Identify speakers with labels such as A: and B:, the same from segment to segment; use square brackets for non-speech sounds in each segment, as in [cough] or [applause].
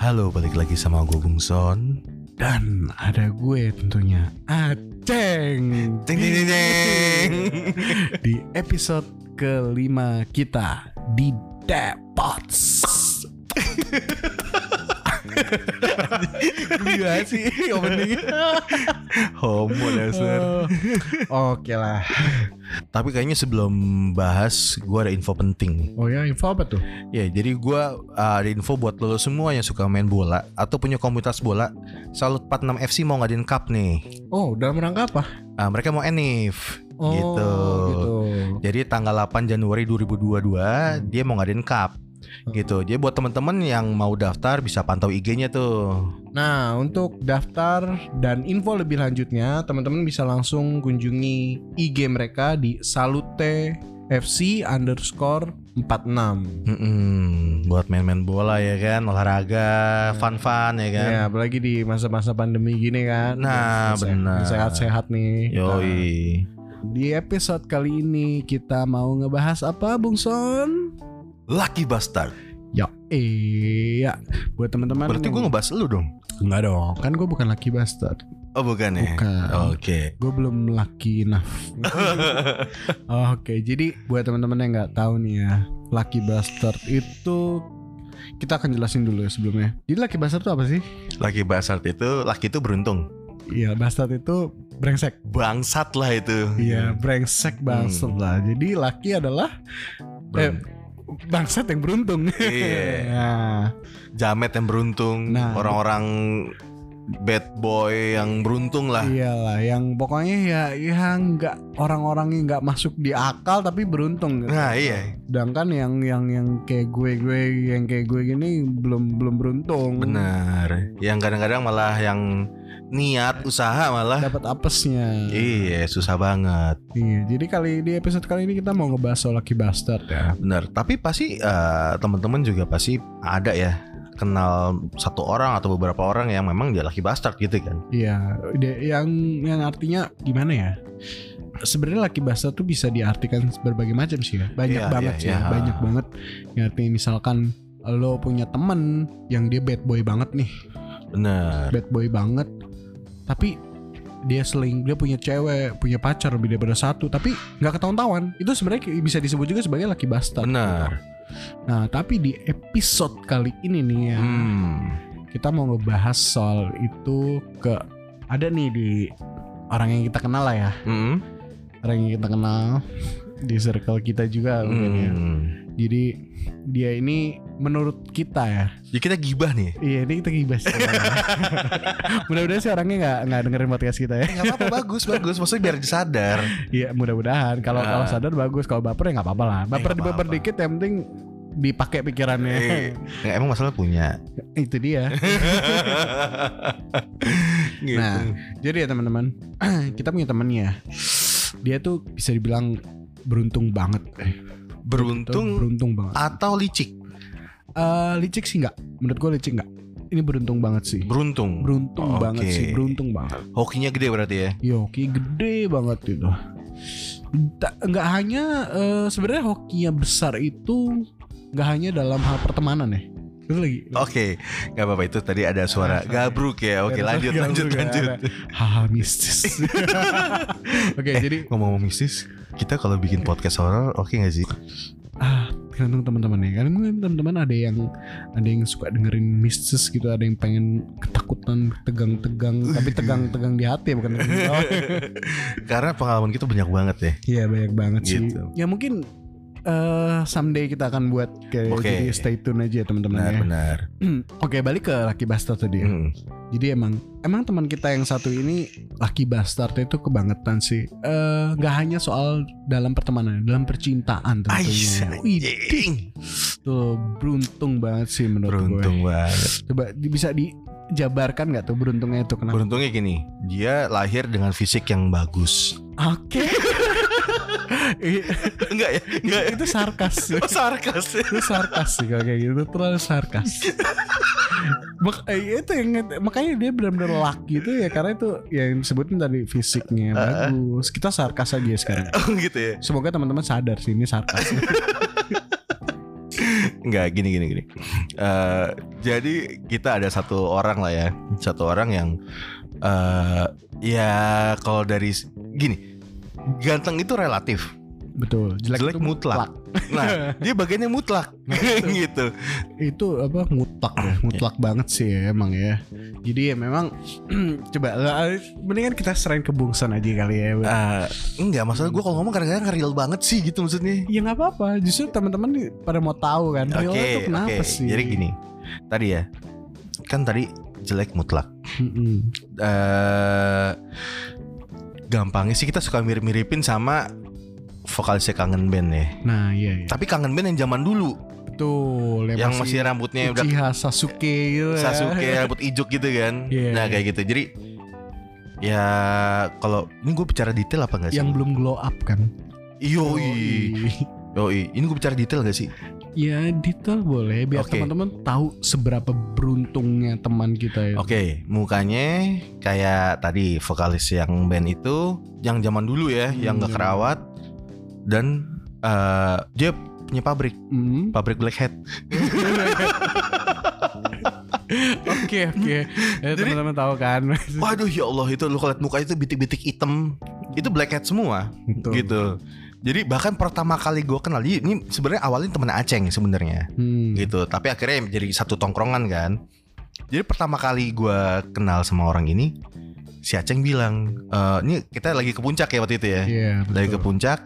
A: Halo, balik lagi sama gue Bungson.
B: Dan ada gue tentunya Aceng
A: Ting ting ting ting.
B: [laughs] Di episode kelima kita Di Depots [laughs] Gila sih openingnya
A: [laughs] Homo dasar.
B: Oke lah
A: Tapi kayaknya sebelum bahas, gue ada info penting nih.
B: Oh ya info apa tuh?
A: Ya, jadi gue uh, ada info buat lo semua yang suka main bola atau punya komunitas bola. Salut 46 FC mau ngadain cup nih.
B: Oh dalam rangka apa?
A: Ah, mereka mau enif.
B: Oh,
A: Gitu.
B: gitu.
A: Jadi tanggal 8 Januari 2022 dia mau ngadain cup gitu. Jadi buat temen-temen yang mau daftar bisa pantau IG-nya tuh.
B: Nah, untuk daftar dan info lebih lanjutnya, teman-teman bisa langsung kunjungi IG mereka di salute FC underscore 46.
A: Mm-mm, buat main-main bola ya kan, olahraga, fun-fun ya kan.
B: Ya, apalagi di masa-masa pandemi gini kan.
A: Nah,
B: Bisa-
A: benar.
B: Sehat-sehat
A: Iya.
B: nih. Nah,
A: Yoi.
B: di episode kali ini kita mau ngebahas apa, Bung Son?
A: Lucky bastard.
B: Ya, iya. Buat teman-teman.
A: Berarti gue ngebahas lu dong.
B: enggak dong. Kan gue bukan laki bastard.
A: Oh bukan ya.
B: Bukan.
A: Oke.
B: Gue belum laki
A: [laughs]
B: enough. Oh, Oke, jadi buat teman-teman yang nggak tahu nih ya, Lucky Bastard itu kita akan jelasin dulu ya sebelumnya. Jadi Lucky Bastard itu apa sih?
A: Lucky bastard itu laki itu beruntung.
B: Iya, Bastard itu brengsek.
A: Bangsat lah itu.
B: Iya, brengsek bastard
A: Hmm.
B: lah. Jadi Lucky adalah eh,
A: Berun-
B: bangsat yang beruntung.
A: Iya.
B: [laughs] Nah,
A: Jamet yang beruntung,
B: Nah.
A: orang-orang bad boy yang beruntung lah.
B: iyalah yang pokoknya ya ya nggak orang-orang yang nggak masuk di akal tapi beruntung gitu.
A: Nah, iya.
B: Sedangkan yang yang yang kayak gue-gue yang kayak gue gini belum belum beruntung.
A: Benar. Yang kadang-kadang malah yang niat usaha malah
B: Dapat apesnya.
A: Ah. Iya, susah banget.
B: Iya, jadi kali di episode kali ini kita mau ngebahas soal Lucky Bastard ya.
A: Bener, tapi pasti eh, teman-teman juga pasti ada ya kenal satu orang atau beberapa orang yang memang dia laki bastard gitu kan.
B: Iya, de- yang yang artinya gimana ya? Sebenarnya Lucky Bastard tuh bisa diartikan berbagai macam sih ya. Banyak
A: Iya,
B: banget
A: iya,
B: sih, ya,
A: iya.
B: banyak banget. Yang artinya misalkan lo punya temen yang dia bad boy banget nih,
A: Bener.
B: bad boy banget. Tapi dia seling, dia punya cewek, punya pacar lebih daripada satu, tapi nggak ketahuan-tahuan. Itu sebenarnya bisa disebut juga sebagai Lucky Bastard.
A: Bener.
B: Nah, tapi di episode kali ini nih ya.
A: Hmm.
B: kita mau ngebahas soal itu ke ada nih di orang yang kita kenal lah ya
A: Mm-mm.
B: orang yang kita kenal [laughs] di circle kita juga mungkin ya.
A: Hmm.
B: jadi dia ini menurut kita ya
A: Ya kita gibah nih.
B: iya ini
A: [laughs]
B: kita gibas mudah-mudahan sih orangnya nggak nggak dengerin podcast kita ya
A: Enggak Eh, apa-apa bagus, bagus. Maksudnya biar disadar.
B: iya mudah-mudahan kalau kalau sadar bagus kalau baper ya nggak apa-apa lah
A: Eh,
B: baper
A: nggak
B: baper
A: apa-apa.
B: dikit yang penting dipakai pikirannya
A: Eh, nggak, emang masalah punya.
B: [laughs] itu dia
A: [laughs] gitu.
B: Nah, jadi ya teman-teman, [clears throat] kita punya temannya. Dia tuh bisa dibilang beruntung banget. Eh, betul,
A: beruntung
B: beruntung banget.
A: atau licik?
B: Eh, licik sih nggak? Menurut gue licik nggak? Ini beruntung banget sih.
A: Beruntung. Oke.
B: Beruntung banget sih, beruntung banget.
A: Hokinya gede berarti ya.
B: Yo, hoki gede banget itu. Ta- Nggak hanya eh, sebenarnya hoki yang besar itu nggak hanya dalam hal pertemanan ya. Itu lagi.
A: Oke, nggak apa-apa itu tadi ada suara gabruk ya. Oke, lanjut,
B: Gak
A: lanjut,
B: ada-
A: lanjut.
B: Haha mistis. Oke, jadi
A: Ngomong-ngomong mistis, kita kalau bikin podcast horor oke nggak [laughs] sih?
B: ah tergantung teman-teman ya karena mungkin teman-teman ada yang ada yang suka dengerin mistis gitu ada yang pengen ketakutan tegang-tegang tapi tegang-tegang di hati ya, bukan tegang di
A: [laughs]
B: bawah.
A: Karena pengalaman kita banyak banget ya.
B: iya banyak banget sih
A: Gitu.
B: ya mungkin eh someday kita akan buat kayak
A: Oke.
B: jadi stay tune aja ya, teman-teman ya
A: Benar-benar.
B: [clears throat] oke balik ke laki bastard tadi ya.
A: Mm.
B: jadi emang emang teman kita yang satu ini laki bastard itu kebangetan sih Eh, nggak hanya soal dalam pertemanan dalam percintaan
A: Ais,
B: tentunya Widih.
A: anjing.
B: Tuh beruntung banget sih menurut gue.
A: Beruntung banget.
B: Coba di- bisa dijabarkan nggak tuh beruntungnya itu kenapa?
A: Beruntungnya gini, dia lahir dengan fisik yang bagus.
B: Oke. Iya.
A: Enggak ya, enggak ya.
B: itu sarkas.
A: Oh, sarkas.
B: itu sarkas sih kalau kayak gitu Itu terlalu sarkas. Mak- eh, itu yang makanya dia benar-benar lucky itu ya karena itu yang disebutin tadi fisiknya bagus. Kita sarkas aja sekarang.
A: Oh, gitu ya. [laughs]
B: Semoga teman-teman sadar sih ini sarkas.
A: Enggak gini gini gini. Eh, jadi kita ada satu orang lah ya, satu orang yang eh ya kalau dari s- gini ganteng itu relatif,
B: Betul. Jelek,
A: jelek
B: itu
A: mutlak.
B: [laughs]
A: Nah dia bagiannya mutlak gitu.
B: itu apa mutlak ya mutlak
A: Iya.
B: banget sih ya, emang ya jadi ya memang [clears throat] coba lah, mendingan kita serain ke Bungson aja kali ya Bang.
A: Eh enggak masalah gue kalau ngomong kadang-kadang real banget sih gitu maksudnya.
B: ya nggak apa-apa justru teman-teman nih pada mau tahu kan
A: Oke
B: Rio
A: oke.
B: itu kenapa sih
A: Jadi gini tadi ya kan tadi jelek mutlak.
B: Mm-mm.
A: eh gampangnya sih kita suka mirip-miripin sama vokalisnya kangen band ya.
B: nah iya, iya.
A: Tapi kangen band yang zaman dulu,
B: betul ya,
A: yang masih rambutnya udah
B: Uchiha Sasuke gitu
A: [laughs]
B: ya.
A: Sasuke rambut ijuk gitu kan.
B: Iya.
A: Nah kayak gitu. Jadi ya kalau ini gue bicara detail apa nggak sih?
B: yang belum glow up kan
A: Yoi, yoi. Ini gue bicara detail gak sih?
B: ya detail boleh biar
A: Oke.
B: teman-teman tahu seberapa beruntungnya teman kita
A: Iya.
B: ya
A: Oke, mukanya kayak tadi vokalis yang band itu, yang zaman dulu ya, yang nggak
B: Hmm.
A: kerawat dan eh dia punya pabrik,
B: Mm.
A: pabrik black hat.
B: Oke oke, ya,
A: Jadi-
B: teman-teman tahu kan?
A: Waduh ya Allah itu lu kalau liat muka itu bitik-bitik hitam itu black hat semua gitu. Jadi bahkan pertama kali gue kenal dia ini sebenarnya awalnya temen Aceng sebenarnya
B: Hmm.
A: gitu. Tapi akhirnya jadi satu tongkrongan kan. Jadi pertama kali gue kenal sama orang ini si Aceng bilang "Eh, ini kita lagi ke puncak ya waktu itu ya.
B: Iya.
A: Lagi ke
B: betul.
A: puncak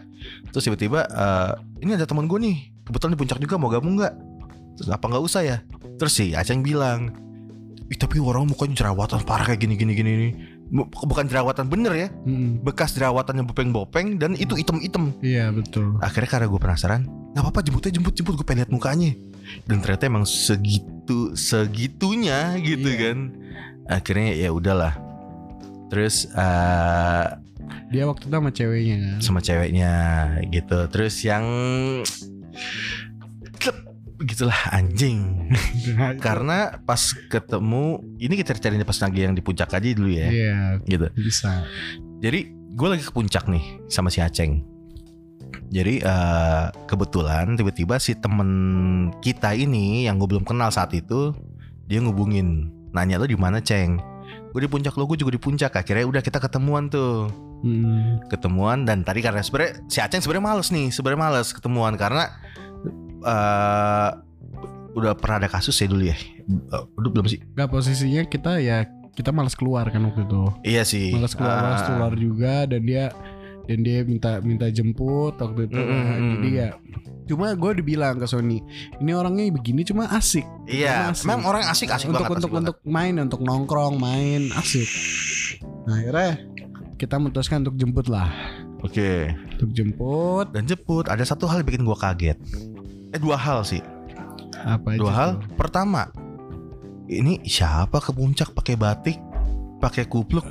A: terus tiba-tiba eh, ini ada temen gue nih kebetulan di puncak juga mau gabung nggak? Terus apa nggak usah ya? Terus si Aceng bilang Ih, tapi orang mukanya jerawatan parah kayak gini gini gini ini. Bu- Bukan jerawatan bener ya,
B: Mm.
A: bekas jerawatan yang bopeng-bopeng dan itu item-item.
B: Iya betul.
A: Akhirnya karena gue penasaran, nggak apa-apa jemputnya jemput-jemput gue pengen lihat mukanya. Dan ternyata emang segitu segitunya gitu
B: Iya.
A: kan. Akhirnya ya udahlah. Terus eh,
B: Dia waktu itu sama ceweknya kan.
A: sama ceweknya gitu. Terus yang Klep, begitulah anjing. Karena pas ketemu ini kita cari pas lagi yang di puncak aja dulu ya.
B: Iya
A: Gitu.
B: bisa.
A: Jadi gue lagi ke puncak nih sama si Aceng. Jadi eh, kebetulan tiba-tiba si temen kita ini yang gue belum kenal saat itu dia ngubungin nanya lo di mana Ceng? Gue di puncak lo, gue juga di puncak. Akhirnya udah kita ketemuan tuh,
B: Mm.
A: ketemuan dan tadi karena sebenarnya si Aceng sebenarnya males nih, sebenarnya males ketemuan karena eh udah pernah ada kasus ya dulu ya. Eh, Udah belum sih?
B: Gak posisinya kita ya kita malas keluar kan waktu itu.
A: Iya sih.
B: Malas keluar, malas
A: Ah.
B: keluar juga dan dia dan dia minta minta jemput waktu itu.
A: Mm-mm,
B: Nah, Jadi
A: mm-mm.
B: ya cuma gue dibilang ke Sony ini orangnya begini cuma asik
A: Iya,
B: Asik.
A: memang orang asik asik
B: Gitu untuk
A: banget. asik
B: untuk
A: banget.
B: untuk main untuk nongkrong main asik nah akhirnya kita memutuskan untuk jemput lah
A: Oke.
B: untuk jemput
A: dan jemput ada satu hal yang bikin gua kaget eh dua hal sih
B: apa aja
A: dua hal
B: tuh?
A: pertama ini siapa ke puncak pakai batik pakai kupluk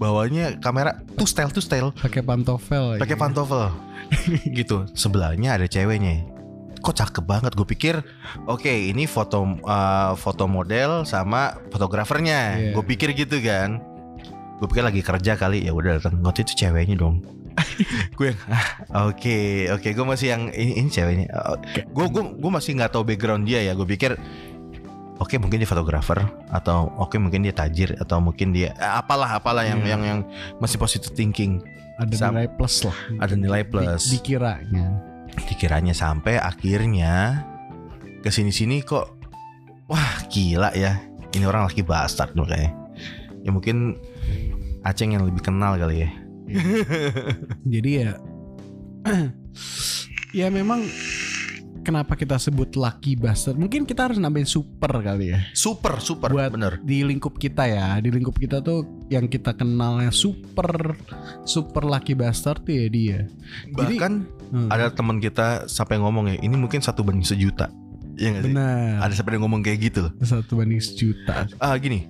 A: bawanya kamera tuh style tuh style
B: pakai pantofel
A: pakai
B: ya.
A: pantofel Iya. [laughs] gitu sebelahnya ada ceweknya kok cakep banget gue pikir oke ini foto eh, foto model sama fotografernya
B: Iya.
A: gue pikir gitu kan gue pikir lagi kerja kali ya udah datang waktu itu ceweknya
B: [laughs]
A: dong gue yang ah, oke oke gue masih yang ini, ini ceweknya Eh, gue gue gue masih nggak tahu background dia ya gue pikir oke mungkin dia fotografer atau oke mungkin dia tajir atau mungkin dia eh, apalah apalah yang
B: Iya.
A: yang yang masih positive thinking
B: ada
A: Sam-
B: nilai plus lah
A: ada nilai
B: Di-
A: plus
B: dikiranya
A: dikiranya sampai akhirnya kesini sini kok wah gila ya ini orang laki bastard makanya ya mungkin Aceng yang lebih kenal kali ya
B: jadi ya [clears throat] ya memang kenapa kita sebut lucky bastard mungkin kita harus nambahin super kali ya
A: super super
B: Buat-
A: bener
B: di lingkup kita ya di lingkup kita tuh yang kita kenalnya super super lucky bastard tuh ya dia Jadi-
A: bahkan
B: Hmm.
A: ada teman kita sampai ngomong ya ini mungkin satu banding sejuta ya nggak sih
B: benar
A: ada sampai yang ngomong kayak gitu loh
B: satu banding sejuta
A: Ah, gini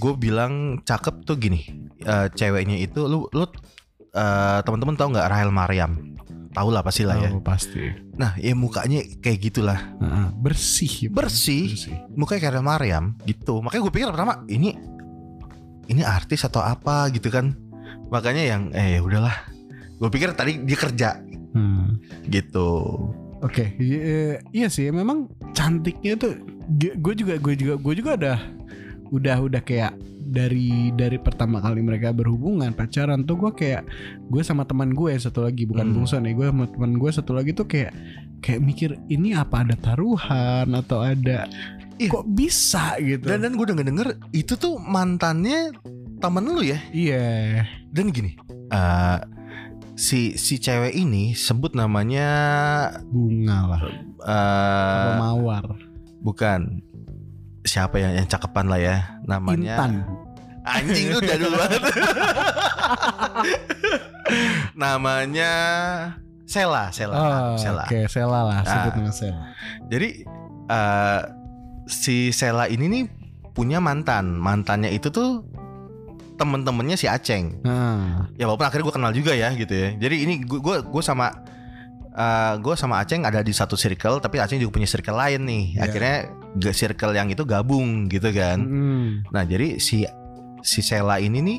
A: gue bilang cakep tuh gini eh, ceweknya itu lu lu eh, teman-teman tahu nggak Rahel Mariam tahu lah pasti lah ya
B: Oh, pasti
A: nah ya mukanya kayak gitulah
B: Heeh, bersih
A: bersih
B: bersih
A: mukanya kayak Ariel Mariam gitu makanya gue pikir pertama ini ini artis atau apa gitu kan makanya yang eh ya udahlah gue pikir tadi dia kerja
B: Hmm.
A: gitu
B: Oke, i- eh, iya sih. Memang cantiknya tuh. Gue juga, gue juga, gue juga udah, udah, udah kayak dari dari pertama kali mereka berhubungan pacaran tuh gue kayak gue sama teman gue satu lagi bukan
A: Hmm.
B: bungsu nih gue sama teman gue satu lagi tuh kayak kayak mikir ini apa ada taruhan atau ada
A: Iya.
B: kok bisa gitu
A: Dan dan gue denger denger itu tuh mantannya temen lu ya.
B: iya
A: Dan gini, eh, si si cewek ini sebut namanya
B: bunga lah apa
A: eh
B: mawar
A: bukan siapa yang yang cakepan lah ya namanya.
B: intan
A: Anjing lu jadul banget. namanya Sela, Sela,
B: oh,
A: ah, Sela.
B: oke sela lah sebut
A: Ah.
B: nama sela
A: Jadi eh, si Sela ini nih punya mantan. Mantannya itu tuh temen-temennya si Aceng.
B: nah
A: Ya walaupun akhirnya gue kenal juga ya gitu ya. Jadi ini gue gue gue sama eh, gue sama Aceng ada di satu circle, tapi Aceng juga punya circle lain nih.
B: Iya.
A: Akhirnya ge- circle yang itu gabung gitu kan.
B: Mm-mm.
A: Nah jadi si si Sela ini nih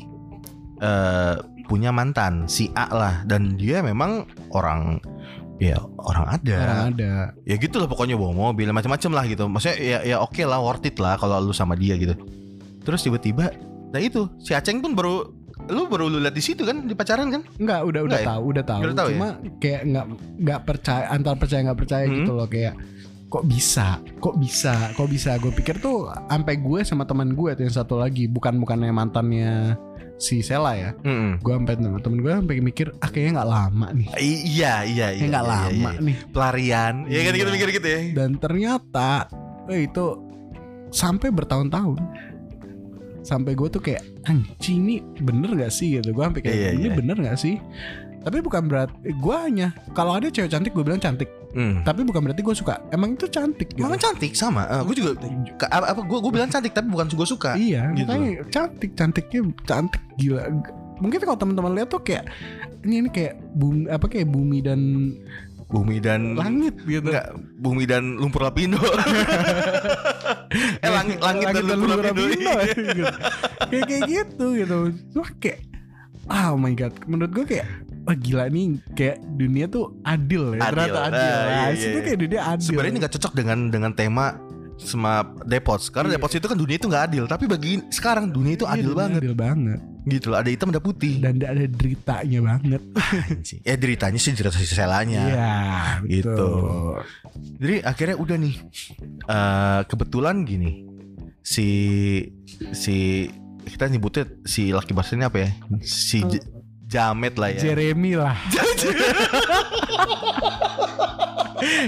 A: eh punya mantan si A lah dan dia memang orang ya orang ada
B: orang ada
A: ya gitu lah pokoknya bawa mobil macam-macam lah gitu maksudnya ya ya oke lah worth it lah kalau lu sama dia gitu terus tiba-tiba nah itu si Aceng pun baru lu baru lu lihat di situ kan di pacaran kan
B: Enggak, udah udah
A: Enggak ya?
B: tahu, udah tahu.
A: Udah tahu ya?
B: Cuma kayak nggak nggak percaya antar percaya nggak percaya
A: Hmm.
B: gitu loh kayak kok bisa, kok bisa, kok bisa. Gue pikir tuh sampai gue sama teman gue tuh yang satu lagi bukan bukannya mantannya si Sela ya. Gue sampai teman teman gue sampai mikir ah kayaknya nggak lama nih.
A: I- iya iya iya
B: Kayaknya nggak
A: iya, iya, iya.
B: lama nih.
A: pelarian ya kan kita
B: Iya.
A: mikir gitu ya
B: Dan ternyata eh, itu sampai bertahun-tahun sampai gue tuh kayak anjing ini bener gak sih gitu gue sampai kayak
A: Iya,
B: ini
A: iya.
B: bener gak sih tapi bukan berarti gue hanya kalau ada cewek cantik gue bilang cantik
A: Hmm.
B: tapi bukan berarti gue suka emang itu cantik gitu
A: Emang cantik sama Eh, gue juga ke- apa apa- gue gue bilang cantik tapi bukan gue suka
B: iya
A: gitu.
B: makanya cantik cantiknya cantik gila mungkin kalau teman-teman lihat tuh kayak ini ini kayak bumi apa kayak bumi dan
A: bumi dan
B: langit gitu
A: enggak bumi dan lumpur
B: [laughs]
A: lapindo eh langit langit, dan lumpur, lapindo,
B: gitu. kayak kayak gitu gitu Wah kayak oh my god menurut gue kayak Wah gila nih kayak dunia tuh adil ya
A: Adil.
B: ternyata adil.
A: Ah, iya,
B: Nah,
A: iya,
B: itu
A: iya.
B: kayak dunia adil.
A: sebenarnya ini nggak cocok dengan dengan tema sama depots karena
B: Iya.
A: depots itu kan dunia itu nggak adil tapi bagi sekarang dunia itu
B: Iya,
A: adil
B: dunia
A: banget
B: Adil banget.
A: gitu loh ada hitam ada putih
B: Dan nggak ada deritanya banget.
A: Anjing. ya deritanya sih derita si selanya
B: Iya,
A: gitu.
B: betul.
A: jadi akhirnya udah nih Eh, kebetulan gini si si kita nyebutnya si laki bahasa ini apa ya si
B: Oh.
A: J- jamet lah ya
B: Iya.
A: [laughs]
B: Jeremy lah.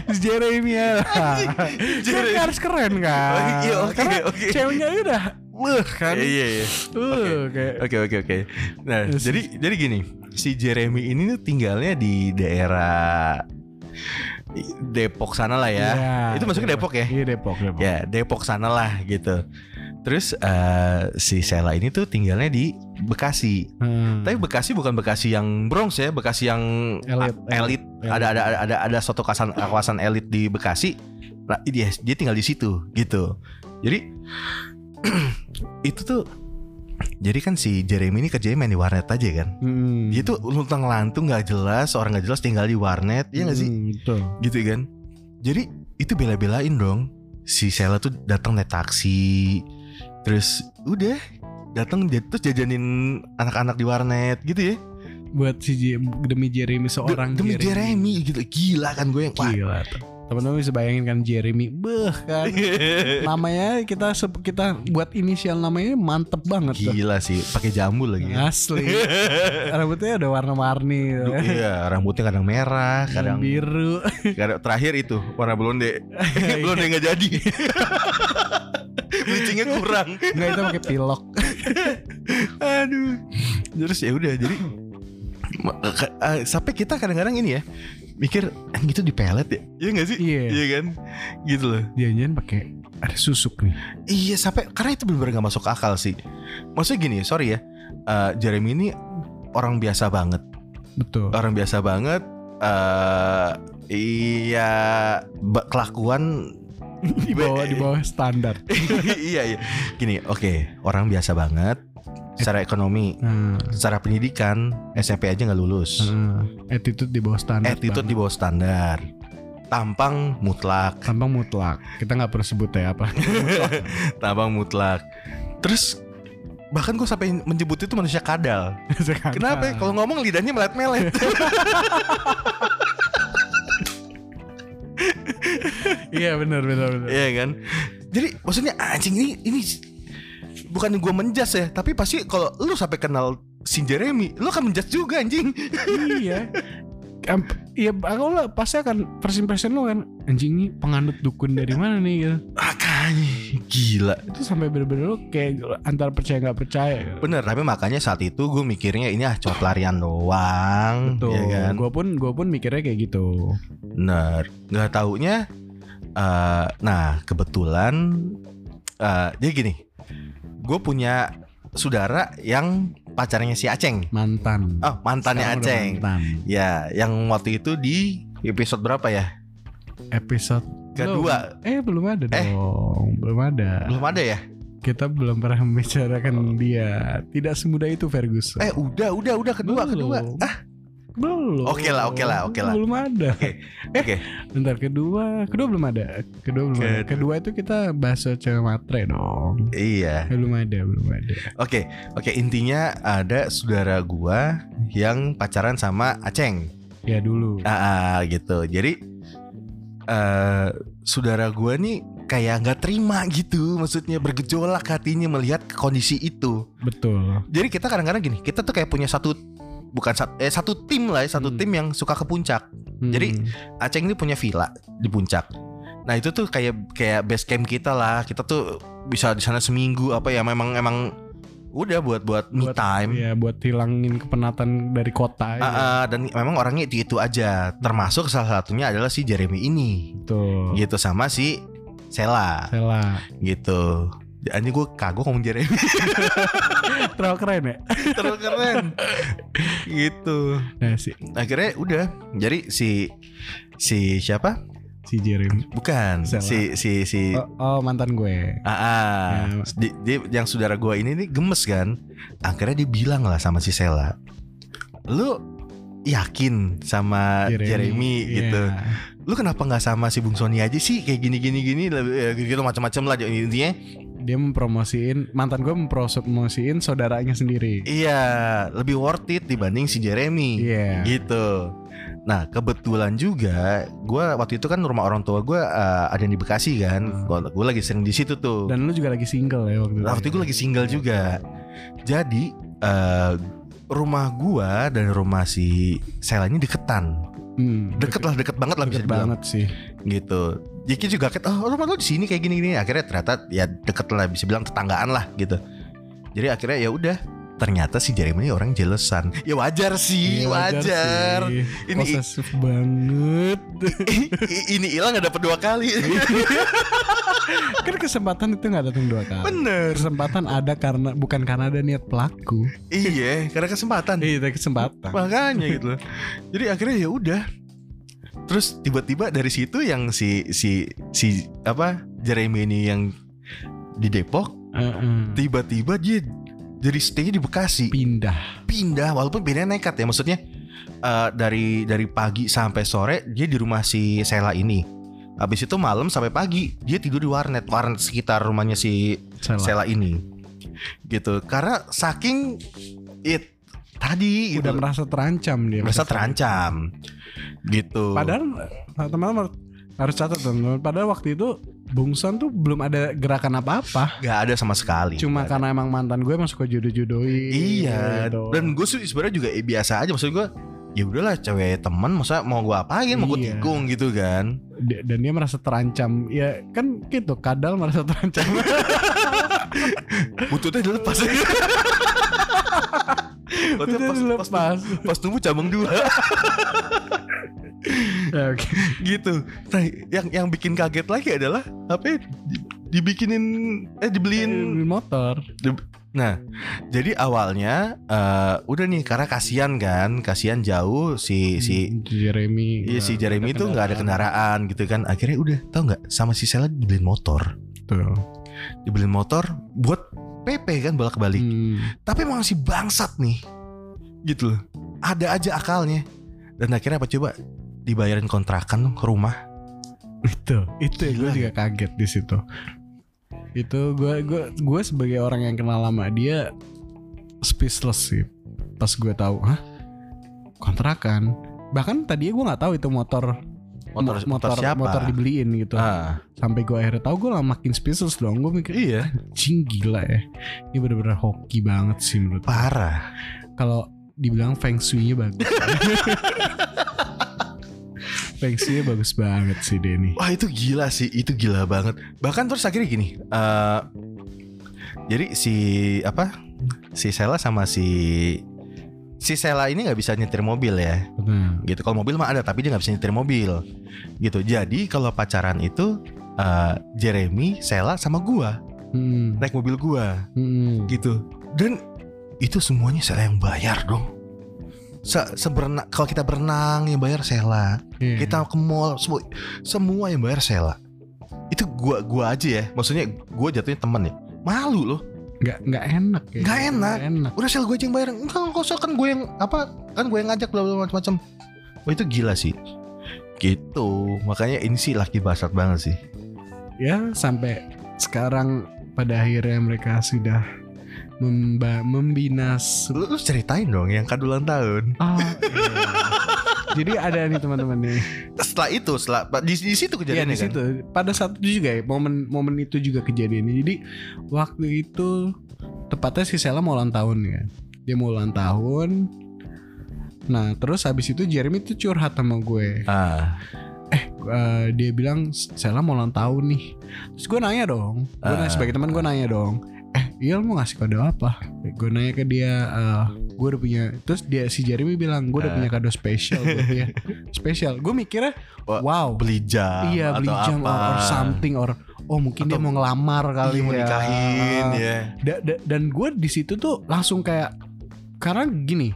B: Jeremy ya. Jeremy
A: Jeremy.
B: harus keren kan.
A: Oh, iya, oke,
B: Karena
A: oke.
B: ceweknya udah uh kan.
A: Iya, iya iya
B: Uh, kayak
A: Oke oke oke. Nah
B: Terus.
A: jadi jadi gini si Jeremy ini tuh tinggalnya di daerah Depok sana lah ya. Itu masuk ke Depok ya?
B: Iya Depok, Depok.
A: Ya Depok sana lah gitu. Terus eh, si Sela ini tuh tinggalnya di Bekasi.
B: Hmm.
A: Tapi Bekasi bukan Bekasi yang Bronx ya, Bekasi yang
B: Elit,
A: a- elit.
B: elit.
A: Ada ada ada ada suatu kawasan kawasan elit di Bekasi. Nah, dia dia tinggal di situ gitu. Jadi [clears throat] itu tuh jadi kan si Jeremy ini kerjanya main di warnet aja kan.
B: Hmm.
A: Dia tuh luntang lantung nggak jelas, orang nggak jelas tinggal di warnet, ya nggak sih?
B: Hmm, betul.
A: Gitu kan. Jadi itu bela-belain dong. Si Sela tuh datang naik taksi, terus udah datang ja- terus jajanin anak-anak di warnet gitu ya.
B: Buat si J- demi Jeremy seorang
A: Demi Jeremy gitu gila kan gue yang wah.
B: Gila. tuh. Teman-teman bisa bayangin kan Jeremy, beh
A: [laughs]
B: kan. namanya kita sep- kita buat inisial namanya mantep banget tuh.
A: Gila sih, pakai jambu lagi. ya.
B: Asli. Rambutnya ada warna-warni. gitu.
A: Duh, iya, rambutnya kadang merah, kadang, [laughs]
B: biru.
A: kadang- terakhir itu warna blonde.
B: Eh, iya.
A: [laughs] blonde nggak jadi. Bleachingnya kurang.
B: Enggak itu pakai pilok.
A: Aduh. Terus ya udah jadi ma- ka- eh, sampai kita kadang-kadang ini ya mikir "Anjing, itu di pelet ya. Iya gak sih?
B: Iya.
A: Iya kan? Gitu loh.
B: Jangan pakai ada susuk nih.
A: Iya sampai karena itu benar-benar gak masuk akal sih. Maksudnya gini, sorry ya. eh, Jeremy ini orang biasa banget.
B: Betul.
A: orang biasa banget eh iya ba- kelakuan [laughs]
B: Di bawah di bawah standar.
A: iya iya gini oke orang biasa banget secara ekonomi
B: Nah,
A: secara pendidikan SMP aja nggak lulus
B: nah, attitude di bawah standar.
A: attitude di bawah standar tampang mutlak [laughs]
B: tampang mutlak kita nggak perlu sebut ya apa
A: tampang mutlak terus bahkan gue sampai menyebut itu manusia kadal
B: [laughs] Sekarang.
A: kenapa ya? kalau ngomong lidahnya melet [laughs] melet
B: iya benar benar benar
A: Iya kan? Jadi maksudnya anjing ini ini bukan gue menjas ya, tapi pasti kalau lu sampai kenal si Jeremy, lu akan menjas juga anjing.
B: iya Am- Iya, aku lah pasti akan first impression lo kan anjing ini penganut dukun dari mana nih gitu.
A: Makanya gila.
B: Itu sampai bener-bener lo kayak antara percaya nggak percaya. gitu.
A: Bener, tapi makanya saat itu gue mikirnya ini ah cuma pelarian doang,
B: Tuh,
A: ya kan?
B: gue pun gue pun mikirnya kayak gitu.
A: Bener, nggak taunya. eh, nah kebetulan eh jadi gini, gue punya saudara yang pacarnya si Aceng.
B: Mantan.
A: Oh mantannya
B: Sekarang udah
A: Aceng.
B: Mantan.
A: Ya, yang waktu itu di episode berapa ya?
B: Episode
A: Kedua.
B: Belum. Eh belum ada
A: Eh.
B: dong, belum ada.
A: Belum ada ya?
B: Kita belum pernah
A: Oh.
B: membicarakan dia. Tidak semudah itu Ferguson.
A: Eh, udah, udah, udah kedua,
B: Belum.
A: kedua. Ah,
B: Belum.
A: Oke lah, oke lah, oke lah.
B: Belum ada.
A: Oke.
B: Eh,
A: Oke.
B: bentar kedua, kedua belum ada. Kedua belum ada.
A: Kedua.
B: Kedua itu kita bahas soal cewek matre dong.
A: iya.
B: Eh, belum ada, belum ada.
A: Oke, oke intinya ada saudara gua yang pacaran sama Aceng.
B: Ya dulu.
A: Ah, ah, gitu. Jadi eh saudara gua nih kayak nggak terima gitu, maksudnya bergejolak hatinya melihat kondisi itu.
B: Betul.
A: Jadi kita kadang-kadang gini, kita tuh kayak punya satu bukan satu, eh, satu tim lah ya, satu
B: Hmm.
A: tim yang suka ke puncak.
B: Hmm.
A: Jadi- Aceng ini punya villa di puncak. Nah itu tuh kayak kayak base camp kita lah. Kita tuh bisa di sana seminggu apa ya memang emang udah buat buat me
B: Buat-
A: time.
B: ya buat hilangin kepenatan dari kota
A: Ah,
B: ya.
A: ah, dan memang orangnya itu itu aja. Termasuk salah satunya adalah si Jeremy ini.
B: Betul.
A: Gitu sama si Sela
B: Sela.
A: [laughs] gitu. Anjing gue kagok ngomong Jeremy [laughs]
B: Terlalu keren ya.
A: terus keren gitu.
B: Nah si
A: Akhirnya udah. Jadi si si siapa?
B: si Jeremy.
A: Bukan
B: Sela.
A: si si si
B: Oh, oh, Ya. mantan gue.
A: Ah, ah. Di- dia- yang saudara gua ini nih gemes kan. Akhirnya dia bilang lah sama si Sela, lu yakin sama Ah, Jeremy,
B: Iya.
A: gitu. Lu kenapa nggak sama si Bung Sony aja sih kayak gini gini gini gitu macam-macam lah intinya.
B: Dia mempromosiin mantan gue mempromosiin saudaranya sendiri.
A: Iya, lebih worth it dibanding si Jeremy.
B: Iya.
A: Gitu. Nah, kebetulan juga gua waktu itu kan rumah orang tua gua eh, ada di Bekasi kan. Gua, gua lagi sering di situ tuh.
B: Dan lu juga lagi single ya waktu itu.
A: Nah, gitu. waktu itu gue lagi single juga. Jadi eh, rumah gua dan rumah si Sela ini deketan.
B: Hmm,
A: Deket lah, deket banget lah bisa
B: deket
A: dibilang
B: banget sih.
A: gitu. Jadi kita juga kaget, oh rumah lu di sini kayak gini-gini. Akhirnya ternyata ya deket lah, bisa bilang tetanggaan lah gitu. Jadi akhirnya ya udah. Ternyata si Jeremy ini orang jelesan. Ya wajar sih,
B: Iya,
A: wajar.
B: sih.
A: Ini-
B: Posesif banget. [laughs]
A: ini hilang gak dapat dua kali.
B: kan kesempatan itu nggak datang dua kali.
A: Bener.
B: Kesempatan ada karena bukan karena ada niat pelaku.
A: Iya, karena kesempatan.
B: Iya, itu kesempatan.
A: makanya gitu loh jadi akhirnya ya udah terus tiba-tiba dari situ yang si si si apa Jeremy ini yang di Depok
B: Heeh.
A: tiba-tiba dia jadi stay di Bekasi
B: Pindah.
A: pindah walaupun pindah nekat ya maksudnya eh, dari dari pagi sampai sore dia di rumah si Sela ini habis itu malam sampai pagi dia tidur di warnet warnet sekitar rumahnya si
B: Salah.
A: Sela ini gitu karena saking it tadi gitu
B: Udah merasa terancam dia.
A: merasa terancam gitu
B: Padahal nah, teman-teman harus catat teman-teman. Padahal waktu itu Bungsan tuh belum ada gerakan apa-apa.
A: nggak ada sama sekali
B: Cuma karena emang mantan gue emang suka jodoh-jodohin.
A: iya
B: gitu.
A: dan gue sih sebenarnya juga eh, biasa aja maksud gue ya udahlah cewek teman masa mau gue apain mau gue
B: Iya.
A: tikung gitu kan
B: Dia- dan dia merasa terancam. Ya kan gitu. Kadal
A: [laughs]
B: merasa terancam.
A: bututnya
B: [laughs]
A: dilepas Bututnya
B: Udah
A: pas, pas,
B: dilepas.
A: pas tumbuh cabang dua [laughs]
B: Ya, oke.
A: gitu nah yang yang bikin kaget lagi adalah apa ya, di- dibikinin eh dibeliin
B: Beli motor.
A: Nah,
B: Hmm.
A: jadi awalnya eh, udah nih karena kasihan kan, kasihan jauh si si
B: Jeremy.
A: iya, si
B: nggak
A: Jeremy
B: Hmm, ada
A: itu nggak ada kendaraan gitu kan. Akhirnya udah tau nggak sama si Sela dibeliin motor,
B: Tuh.
A: dibeliin motor buat PP kan bolak balik.
B: Hmm.
A: Tapi emang si bangsat nih, gitu loh. Ada aja akalnya. Dan akhirnya apa coba dibayarin kontrakan ke rumah
B: itu itu ya gue
A: Gila.
B: juga kaget di situ itu gue gue gue sebagai orang yang kenal lama dia speechless sih pas gue tahu hah kontrakan bahkan tadinya gue nggak tahu itu motor
A: Motor-
B: mo-
A: motor siapa?
B: motor dibeliin gitu
A: Ah,
B: sampai gue akhirnya tahu gue lah makin speechless dong gue mikir
A: iya,
B: anjing gila ya ini bener-bener hoki banget sih menurut gue.
A: parah.
B: kalau dibilang feng shui-nya bagus [laughs] feng shui-nya bagus banget sih Denny
A: Wah itu gila sih, itu gila banget. Bahkan terus akhirnya gini, eh jadi si apa? Si Sela sama si si Sela ini nggak bisa nyetir mobil ya.
B: Benar.
A: gitu kalau mobil mah ada tapi dia nggak bisa nyetir mobil gitu jadi kalau pacaran itu eh, Jeremy Sela sama gua
B: Hmm,
A: naik mobil gua
B: hmm.
A: gitu dan itu semuanya Sela yang bayar dong Se seberna- kalau kita berenang yang bayar Sela
B: Iya.
A: kita ke mall semua semua yang bayar Sela itu gua gua aja ya maksudnya gua jatuhnya temen ya malu loh
B: nggak nggak enak ya
A: Nggak enak.
B: Nggak enak
A: udah sel gue aja yang bayar enggak enggak usah kan gue yang apa kan gue yang ngajak bla bla macam-macam wah itu gila sih gitu makanya ini sih laki basat banget sih
B: ya sampai sekarang pada akhirnya mereka sudah memba- membina se-
A: lu, lu ceritain dong yang kado ulang tahun
B: Ah, iya. [laughs] jadi ada nih teman-teman nih
A: setelah itu setelah di, di situ
B: Iya
A: kejadiannya kan?
B: di situ. Pada saat itu juga ya momen momen itu juga kejadiannya. Jadi waktu itu tepatnya si Sela mau ulang tahun ya. Dia mau ulang tahun. Nah terus habis itu Jeremy tuh curhat sama gue.
A: kan ah
B: Eh, dia bilang Sela mau ulang tahun nih. Terus gue nanya dong. Gue
A: Ah.
B: nanya, sebagai teman gue nanya dong. Eh iya lu mau ngasih kado apa? Gue nanya ke dia. eh, gue udah punya. Terus dia si Jeremy bilang gue
A: Ah.
B: udah punya kado spesial buat
A: [laughs]
B: dia. spesial. Gue mikirnya
A: Wah,
B: wow
A: beli jam
B: Iya
A: atau
B: beli jam
A: apa
B: or, or something or oh mungkin dia
A: Atau-
B: mau ngelamar
A: Iya,
B: kali
A: mau
B: ya.
A: nikahin ya
B: Da- da- dan gue di situ tuh langsung kayak karena gini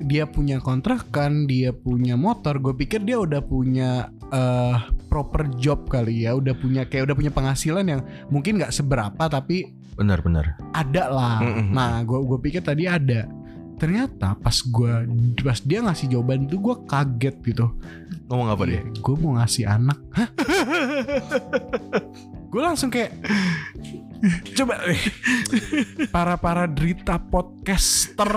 B: dia punya kontrakan dia punya motor gue pikir dia udah punya eh, proper job kali ya udah punya kayak udah punya penghasilan yang mungkin nggak seberapa tapi
A: benar benar
B: ada lah
A: Mm-mm.
B: nah gue gue pikir tadi ada ternyata pas gue pas dia ngasih jawaban itu gue kaget gitu
A: ngomong apa deh
B: Gue Iya, mau ngasih anak. gue langsung kayak coba deh, para-para derita podcaster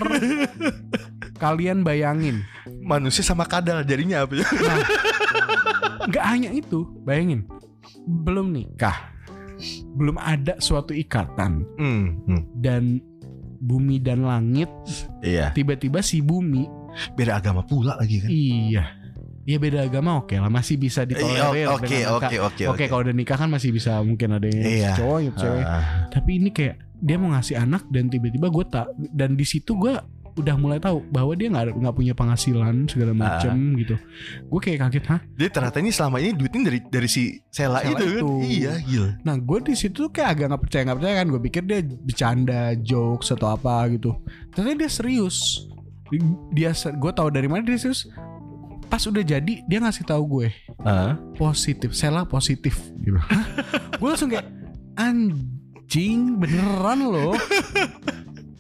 B: kalian bayangin.
A: manusia sama kadal jadinya apa ya
B: Nah, nggak hanya itu, bayangin. Belum nikah. Belum ada suatu ikatan
A: hmm, hmm.
B: dan bumi dan langit
A: iya
B: tiba-tiba si bumi
A: beda agama pula lagi kan
B: iya ya beda agama oke lah masih bisa
A: Iya,
B: ditolerir dengan
A: oke
B: angka-
A: oke Iya, oke
B: Oke, kalau udah nikah kan masih bisa mungkin ada yang
A: Iya.
B: cowok yang cewek.
A: Ah,
B: Tapi ini kayak dia mau ngasih anak dan tiba-tiba gue tak dan di situ gue udah mulai tahu bahwa dia nggak nggak punya penghasilan segala
A: Ah.
B: macem gitu. Gue kayak kaget hah.
A: Jadi ternyata ini selama ini duitnya dari dari si Sela,
B: Sela
A: itu, kan?
B: itu.
A: Iya, gila.
B: Nah gue di situ tuh kayak agak nggak percaya nggak percaya kan. Gue pikir dia bercanda, jokes atau apa gitu. Ternyata dia serius. Dia gue tahu dari mana dia serius. Pas udah jadi dia ngasih tahu gue. positif Sela positif gitu gue langsung kayak anjing beneran loh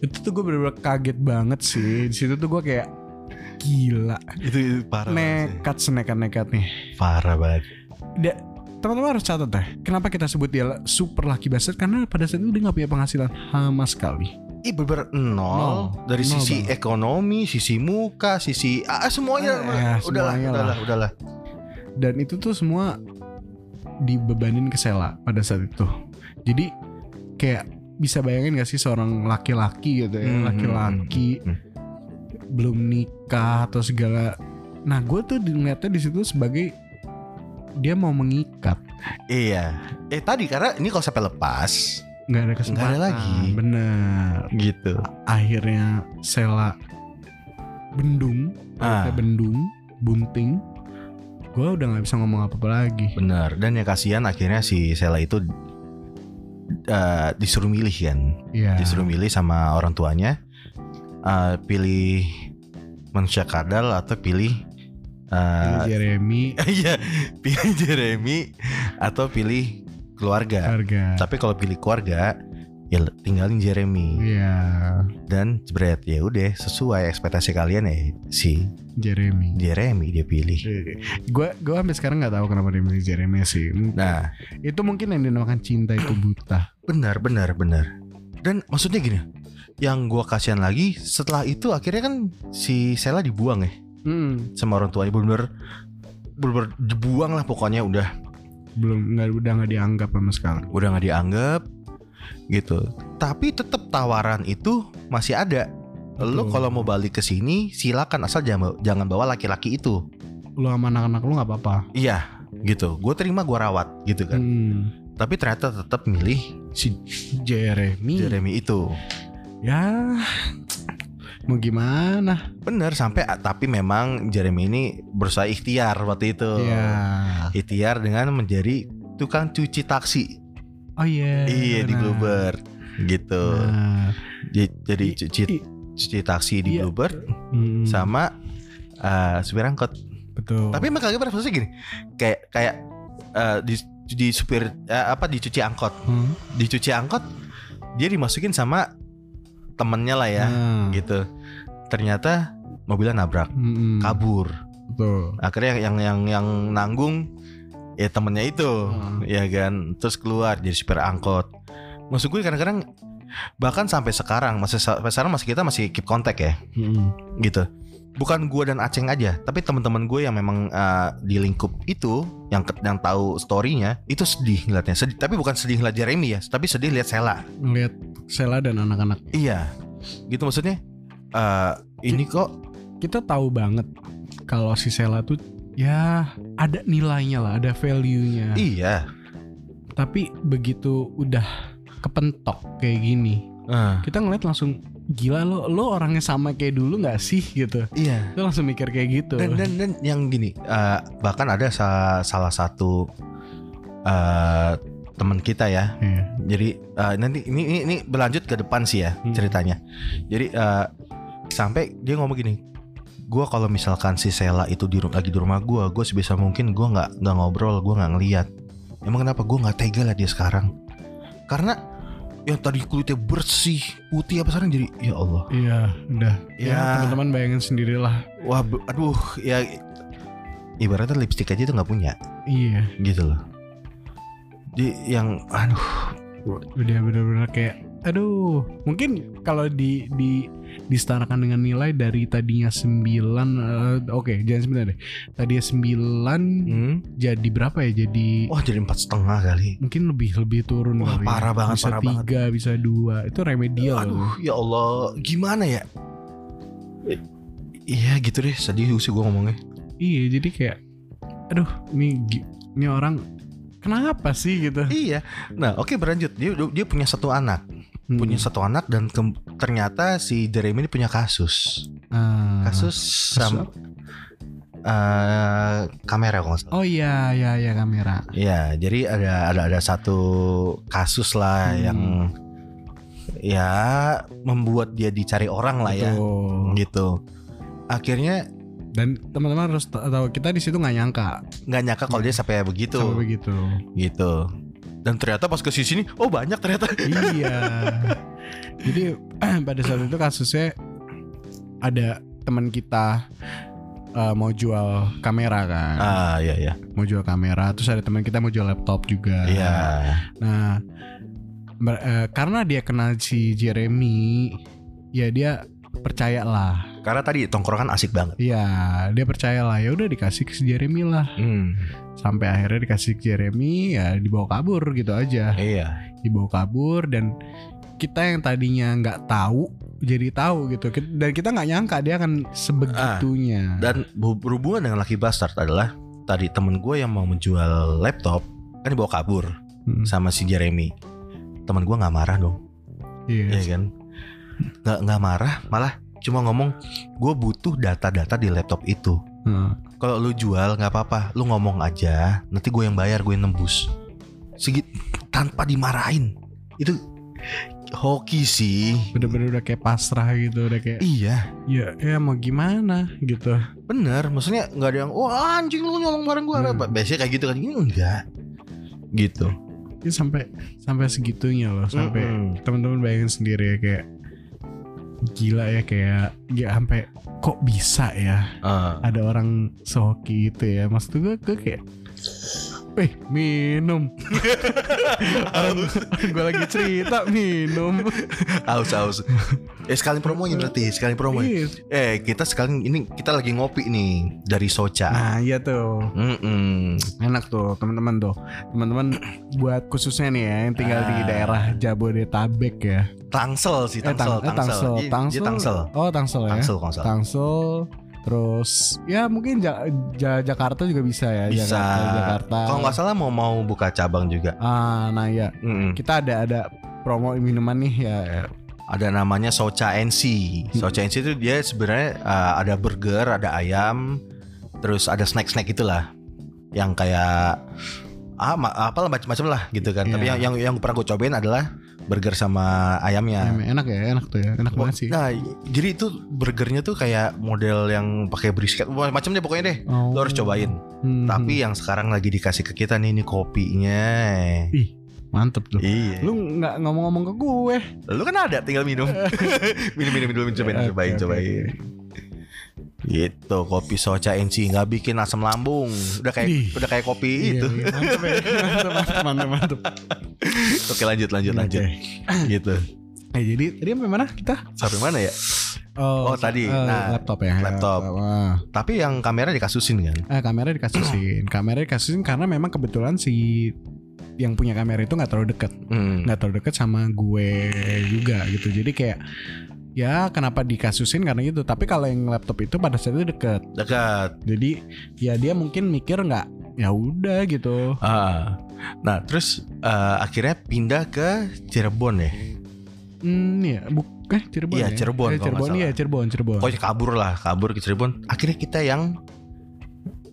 B: itu tuh gue bener-bener kaget banget sih di situ tuh gue kayak gila
A: Itu, itu parah banget.
B: nekat senekat nekat nih
A: sih. Parah banget.
B: Da- teman-teman harus catat deh kenapa kita sebut dia super laki bastard karena pada saat itu dia nggak punya penghasilan sama sekali
A: Ih bener nol,
B: Nol.
A: dari
B: Nol
A: sisi
B: banget.
A: ekonomi, sisi muka, sisi ah, ah, semuanya.
B: Ah, ya,
A: udahlah,
B: semuanya
A: udahlah, udahlah.
B: dan itu tuh semua dibebanin ke Sela pada saat itu jadi kayak bisa bayangin gak sih seorang laki-laki gitu
A: Mhm.
B: ya laki-laki
A: Hmm.
B: belum nikah atau segala nah gue tuh dilihatnya di situ sebagai dia mau mengikat
A: Iya. Eh tadi karena ini kalau sampai lepas
B: nggak ada kesempatan
A: Nggak ada lagi.
B: bener
A: gitu.
B: akhirnya Sela bendung
A: Ah.
B: Dia bendung bunting gue udah nggak bisa ngomong apa apa lagi
A: Bener. Dan yang kasihan akhirnya si Sela itu eh, disuruh milih kan,
B: ya
A: disuruh milih sama orang tuanya eh, pilih manusia kadal atau pilih eh, [laughs]
B: Jeremy
A: Iya, pilih Jeremy atau pilih keluarga.
B: harga
A: Ya. Tapi kalau pilih keluarga, ya tinggalin Jeremy
B: Iya,
A: dan jebret ya udah sesuai ekspektasi kalian ya si
B: Jeremy.
A: Jeremy dia pilih
B: Gue gue sampai sekarang nggak tahu kenapa dia milih Jeremy sih. M-
A: nah
B: Itu mungkin yang dinamakan cinta itu buta.
A: benar benar benar dan maksudnya gini yang gua kasihan lagi setelah itu akhirnya kan si Sela dibuang ya
B: Hmm,
A: sama orang tuanya bener-bener bener dibuang lah pokoknya udah
B: belum nggak udah nggak dianggap sama sekali.
A: udah nggak dianggap gitu tapi tetap tawaran itu masih ada lo
B: Betul.
A: kalau mau balik ke sini silakan asal jangan jangan bawa laki-laki itu
B: Lu sama anak-anak lu nggak apa-apa.
A: iya gitu gue terima gue rawat gitu kan
B: Hmm,
A: tapi ternyata tetap milih
B: si Jeremy.
A: Jeremy itu
B: Ya, mau gimana?
A: bener sampai ah, tapi memang Jeremy ini berusaha ikhtiar waktu itu
B: Ya.
A: ikhtiar dengan menjadi tukang cuci taksi
B: Oh iya.
A: iya di
B: benar.
A: Bluebird gitu
B: Nah,
A: J- jadi
B: i-
A: cuci
B: i-
A: cuci taksi di
B: Iya.
A: Bluebird
B: hmm, Oh.
A: sama eh, supir angkot.
B: betul.
A: Tapi emang kagak pernah maksudnya gini. Kayak kayak eh, di di supir eh, apa dicuci angkot.
B: Hmm,
A: Dicuci angkot dia dimasukin sama temennya lah ya
B: nah,
A: gitu. Ternyata mobilnya nabrak,
B: hmm,
A: kabur.
B: Betul.
A: Akhirnya yang yang yang nanggung ya temennya itu,
B: Hmm.
A: ya kan. Terus keluar jadi supir angkot. Maksud gue kadang-kadang bahkan sampai sekarang masih sampai sekarang masih kita masih keep contact ya.
B: Hmm,
A: gitu bukan gue dan Aceng aja tapi teman-teman gue yang memang uh, di lingkup itu yang ke- yang tahu storynya itu sedih ngeliatnya sedih tapi bukan sedih ngeliat Jeremy ya tapi sedih lihat Sela
B: Ngeliat Sela dan anak-anak.
A: iya gitu maksudnya uh, ini kok
B: Kita tahu banget kalau si Sela tuh ya ada nilainya lah, ada value-nya.
A: iya
B: Tapi begitu udah kepentok kayak gini,
A: eh,
B: kita ngeliat langsung gila lo lo orangnya sama kayak dulu nggak sih gitu
A: iya
B: lo langsung mikir kayak gitu
A: dan dan dan yang gini uh, bahkan ada sa- salah satu uh, teman kita ya
B: Iya.
A: Jadi eh, nanti ini, ini ini berlanjut ke depan sih ya
B: Hmm.
A: ceritanya. Jadi eh, sampai dia ngomong gini, gue kalau misalkan si Sela itu di ru- lagi di rumah gue, gue sebisa mungkin gue nggak nggak ngobrol, gue nggak ngeliat. Emang kenapa gue nggak tega lah dia sekarang? Karena yang tadi kulitnya bersih putih apa sekarang jadi ya Allah.
B: Iya, udah. Ya,
A: Ya.
B: teman-teman bayangin sendirilah.
A: Wah, be- aduh ya ibaratnya lipstick aja itu nggak punya
B: Iya,
A: gitu loh. Jadi yang aduh
B: udah bener-bener kayak aduh, mungkin kalau di di disetarakan dengan nilai dari tadinya 9 eh, oke, jangan 9 deh. Tadinya 9
A: hmm.
B: jadi berapa ya? Jadi
A: wah jadi empat setengah kali.
B: mungkin lebih lebih turun
A: Oh. Wah,
B: kali ya.
A: parah banget,
B: bisa
A: parah
B: tiga, bisa dua itu remedial
A: Aduh, ya Allah, gimana ya? I- Iya gitu deh, sedih sih gue ngomongnya.
B: iya jadi kayak aduh ini gi- ini orang kenapa sih gitu
A: Iya. Nah, oke berlanjut. Dia dia punya satu anak,
B: Hmm.
A: punya satu anak dan ke- ternyata si Jeremy ini punya kasus,
B: Ah.
A: Hmm. kasus sama eh, kamera kalau nggak salah.
B: oh iya iya iya kamera
A: Iya, jadi ada ada ada satu kasus lah
B: Hmm.
A: yang ya membuat dia dicari orang lah ya,
B: Betul.
A: gitu. Akhirnya
B: Dan teman-teman harus ta- tahu kita di situ nggak nyangka
A: nggak nyangka kalau dia sampai begitu.
B: sampai begitu.
A: gitu dan ternyata pas ke sini oh banyak ternyata [laughs]
B: iya. Jadi [clears throat] pada saat itu kasusnya ada teman kita eh, mau jual kamera kan,
A: ah iya iya
B: mau jual kamera. Terus ada teman kita mau jual laptop juga.
A: iya
B: Nah, ber- eh, karena dia kenal si Jeremy, ya dia percayalah.
A: karena tadi tongkrongan asik banget
B: Iya, dia percayalah. Ya udah dikasih ke si Jeremy lah.
A: hmm.
B: sampai akhirnya dikasih ke Jeremy ya dibawa kabur gitu aja
A: iya
B: dibawa kabur dan kita yang tadinya nggak tahu jadi tahu gitu Kit- dan kita nggak nyangka dia akan sebegitunya
A: Ah, dan bu- berhubungan dengan laki bastard adalah tadi temen gue yang mau menjual laptop kan dibawa kabur
B: Hmm,
A: sama si Jeremy temen gue nggak marah dong
B: iya.
A: iya kan nggak nggak marah malah cuma ngomong gue butuh data-data di laptop itu
B: Heeh.
A: kalau lu jual nggak apa-apa lu ngomong aja nanti gue yang bayar gue yang nembus segit tanpa dimarahin itu hoki sih
B: bener-bener udah kayak pasrah gitu udah kayak
A: iya
B: ya ya mau gimana gitu
A: bener maksudnya nggak ada yang wah anjing lu nyolong barang gue
B: Hmm.
A: apa biasanya kayak gitu kan ini enggak gitu
B: Ya, sampai sampai segitunya loh, sampai
A: Mm-mm.
B: teman-teman bayangin sendiri ya kayak gila ya kayak ya sampai kok bisa ya
A: Ah.
B: ada orang sehoki itu ya maksud gue gue kayak eh minum
A: [laughs]
B: [laughs] orang, gue lagi cerita minum
A: Aus aus. Eh sekali promonya berarti, sekali promonya.
B: Iya.
A: Eh kita sekali ini kita lagi ngopi nih dari Soca.
B: nah iya tuh
A: Mm-mm.
B: enak tuh teman-teman tuh teman-teman buat khususnya nih ya yang tinggal di
A: Ah.
B: daerah Jabodetabek ya
A: Tangsel sih,
B: Eh, tang-
A: Tangsel,
B: eh,
A: Tangsel. Iya,
B: tangsel,
A: dia Tangsel.
B: oh tangsel ya
A: Tangsel, kalau nggak salah.
B: tangsel terus ya mungkin Ja- Ja- Jakarta juga bisa ya
A: Bisa.
B: Jakarta, Jakarta.
A: Kalau nggak salah mau mau buka cabang juga.
B: ah nah ya
A: Mm-mm.
B: kita ada ada promo minuman nih ya
A: Ada namanya Soca NC. Soca NC itu dia sebenarnya uh, ada burger, ada ayam, terus ada snack-snack itulah yang kayak ah ma- apalah macam-macam lah gitu kan. Tapi
B: Iya.
A: yang yang yang pernah gue cobain adalah burger sama ayamnya.
B: Em, enak ya enak tuh ya enak banget sih
A: Nah, jadi itu burgernya tuh kayak model yang pakai brisket, Wah, macam deh pokoknya deh.
B: Oh.
A: Lo harus cobain.
B: Hmm,
A: Tapi ya- yang sekarang lagi dikasih ke kita nih ini kopinya.
B: mantep tuh
A: Iya.
B: lu nggak ngomong-ngomong ke gue
A: Lu kan ada tinggal
B: [laughs]
A: minum. minum minum minum cobain
B: Oke,
A: cobain
B: oke,
A: cobain.
B: oke.
A: Gitu kopi soca NC nggak bikin asam lambung. Udah kayak
B: Ih.
A: udah kayak kopi
B: Iya,
A: itu.
B: iya, mantep
A: [laughs]
B: ya mantep mantep mantep, mantep.
A: Oke lanjut lanjut lanjut.
B: Oke.
A: gitu.
B: Eh, jadi tadi sampai mana kita
A: Sampai mana ya? Oh, tadi.
B: eh,
A: Nah,
B: laptop ya
A: laptop.
B: Ah.
A: Tapi yang kamera dikasusin kan.
B: Eh, kamera dikasusin. [clears throat] kamera dikasusin karena memang kebetulan si yang punya kamera itu nggak terlalu deket,
A: Hmm.
B: nggak terlalu deket sama gue juga gitu. Jadi kayak ya kenapa dikasusin karena itu. Tapi kalau yang laptop itu pada saat itu deket.
A: Dekat.
B: Jadi ya dia mungkin mikir nggak ya udah gitu.
A: Ah. Nah, terus eh, akhirnya pindah ke Cirebon ya.
B: Hmm ya bukan Cirebon.
A: Iya,
B: ya?
A: Cirebon,
B: Eh,
A: kalau
B: Cirebon
A: nggak Oh,
B: iya Cirebon Cirebon.
A: Pokoknya kabur lah, kabur ke Cirebon. Akhirnya kita yang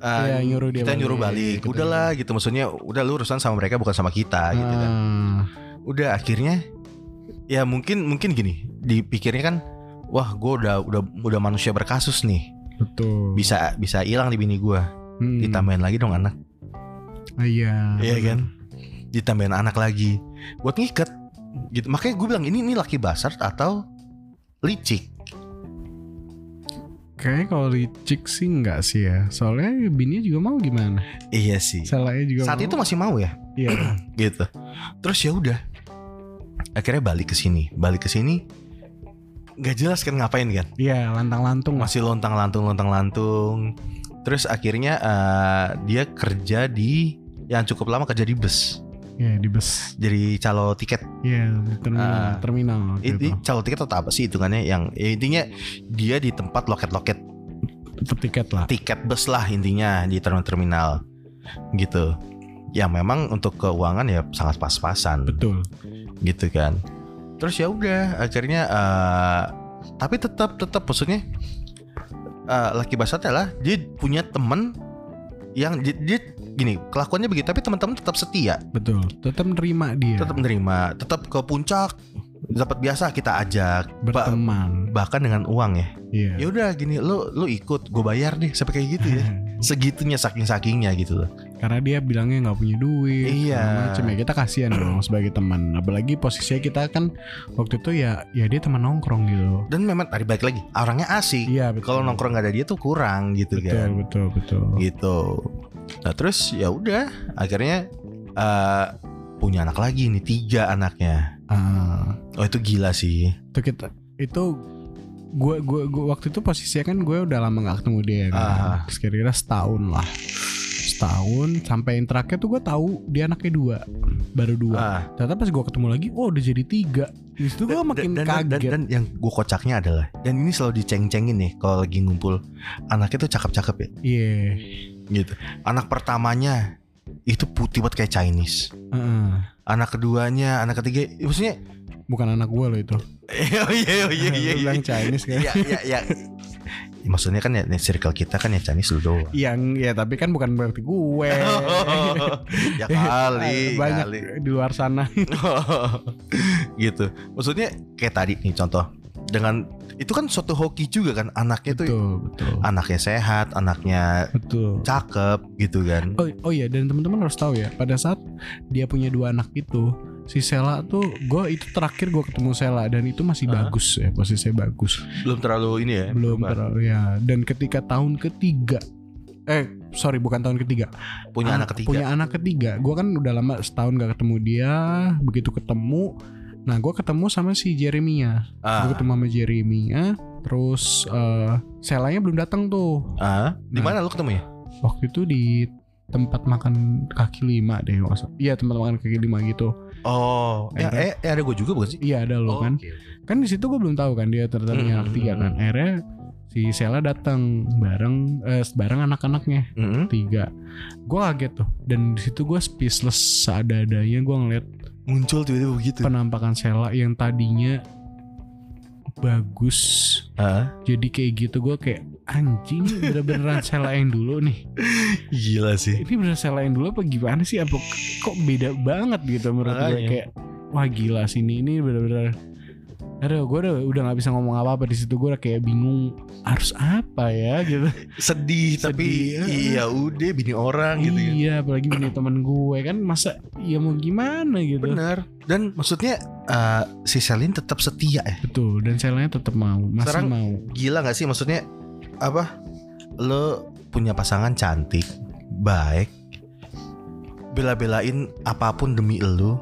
A: eh,
B: Iya, nyuruh dia
A: kita nyuruh
B: balik. Iya,
A: balik.
B: Kita-
A: Udahlah gitu maksudnya udah lu urusan sama mereka bukan sama kita gitu kan.
B: Ah,
A: Udah akhirnya ya mungkin mungkin gini, dipikirnya kan wah gue udah udah udah manusia berkasus nih.
B: betul.
A: Bisa bisa hilang di bini gua.
B: Hmm.
A: Ditambahin lagi dong anak.
B: Ah, Iya.
A: Iya kan? Ditambahin anak lagi buat ngiket. Gitu. Makanya gue bilang ini ini laki basar atau licik.
B: Kayaknya kalau licik sih nggak sih ya. Soalnya bininya juga mau gimana?
A: Iya sih.
B: Salahnya juga
A: Saat
B: mau.
A: itu masih mau ya?
B: Iya.
A: gitu terus ya udah akhirnya balik ke sini balik ke sini nggak jelas kan ngapain kan
B: Iya, lantang-lantung mas.
A: masih lontang lantung lontang lantung terus akhirnya eh, dia kerja di yang cukup lama kerja di bus
B: Iya, di bus.
A: jadi calo tiket
B: Iya, di terminal,
A: Ah.
B: terminal
A: ini calo tiket atau apa sih hitungannya yang ya intinya dia di tempat loket loket
B: Itu tiket lah.
A: tiket bus lah intinya di terminal terminal gitu ya memang untuk keuangan ya sangat pas-pasan
B: Betul.
A: gitu kan terus ya udah akhirnya eh, tapi tetap tetap maksudnya eh, laki basatnya lah dia punya temen yang di- dia, gini kelakuannya begitu tapi teman-teman tetap setia
B: Betul. Tetap nerima dia.
A: tetap menerima tetap ke puncak dapat biasa kita ajak ba-
B: berteman.
A: bahkan dengan uang ya ya
B: Iya.
A: udah gini lu lu ikut gue bayar deh sampai kayak gitu ya segitunya saking sakingnya gitu loh
B: [laughs] Karena dia bilangnya nggak punya duit.
A: Iya.
B: segala Macam ya kita kasihan dong sebagai teman. Apalagi posisinya kita kan waktu itu ya ya dia teman nongkrong gitu.
A: dan memang tadi balik lagi orangnya asik
B: Iya, betul.
A: kalau nongkrong gak ada dia tuh kurang gitu
B: betul,
A: kan
B: betul, betul.
A: gitu nah terus ya udah akhirnya eh, punya anak lagi nih tiga anaknya
B: Ah.
A: oh itu gila sih
B: itu kita itu gue gue gue waktu itu posisinya kan gue udah lama gak ketemu dia kan
A: Ah.
B: Terus kira-kira setahun lah setahun sampai yang terakhir tuh gue tahu dia anaknya dua baru dua
A: Ah,
B: ternyata pas gue ketemu lagi oh udah jadi tiga di situ gue
A: dan-
B: makin
A: dan, dan,
B: kaget
A: dan, dan yang gue kocaknya adalah dan ini selalu diceng-cengin nih kalau lagi ngumpul anaknya tuh cakep-cakep ya
B: iya
A: gitu anak pertamanya itu putih banget kayak Chinese
B: Heeh.
A: anak keduanya anak ketiga maksudnya [laughs]
B: bukan anak gue loh itu
A: oh iya oh [laughs] iya iya
B: Lu
A: iya
B: bilang Chinese kan
A: iya iya iya maksudnya kan ya circle kita kan ya Chinese lu doang
B: yang ya tapi kan bukan berarti
A: [laughs]
B: gue
A: ya kali
B: banyak
A: kali. [laughs]
B: di luar sana
A: gitu maksudnya kayak tadi nih contoh dengan itu kan suatu hoki juga kan anaknya tuh
B: betul betul
A: anaknya sehat anaknya
B: betul
A: cakep gitu kan
B: oh oh ya dan teman-teman harus tahu ya pada saat dia punya dua anak itu si Sela tuh gue itu terakhir gue ketemu Sela dan itu masih
A: Hah?
B: bagus ya posisinya bagus
A: belum terlalu ini ya
B: belum terlalu ya dan ketika tahun ketiga eh sorry bukan tahun ketiga
A: punya anak ketiga
B: punya anak ketiga gue kan udah lama setahun gak ketemu dia begitu ketemu nah gue ketemu sama si Jeremia
A: ah,
B: gue ketemu sama Jeremia terus eh selanya belum datang tuh
A: ah. di mana lu ketemu ya
B: waktu itu di tempat makan kaki lima deh nggak salah. iya tempat makan kaki lima gitu
A: oh ya, eh, eh, ada gue juga bukan sih
B: iya ada lo kan
A: Oh, Oke.
B: kan di situ gue belum tahu kan dia ternyata punya anak
A: Mm,
B: tiga
A: mm,
B: kan
A: mm.
B: akhirnya si Sela datang bareng eh, bareng anak-anaknya
A: Mm-mm.
B: tiga gue kaget tuh dan di situ gue speechless seada-adanya gue ngeliat
A: muncul tiba-tiba begitu
B: penampakan Sela yang tadinya bagus
A: Ah.
B: jadi kayak gitu gue kayak anjing ini bener-beneran Sela yang dulu nih
A: gila sih
B: ini bener Sela yang dulu apa gimana sih apa kok beda banget gitu menurut gue
A: Makanya.
B: kayak wah gila sih ini ini bener-bener Aduh, gue udah udah nggak bisa ngomong apa-apa di situ gue udah kayak bingung harus apa ya gitu.
A: sedih, tapi
B: Sedih, ah.
A: iya udah bini orang gitu ya
B: iya, apalagi punya teman gue kan masa ya mau gimana gitu.
A: bener dan maksudnya eh, si Selin tetap setia ya
B: Betul, dan selanya tetap mau, masih
A: Sekarang-
B: mau.
A: gila nggak sih maksudnya apa lo punya pasangan cantik baik bela-belain apapun demi lo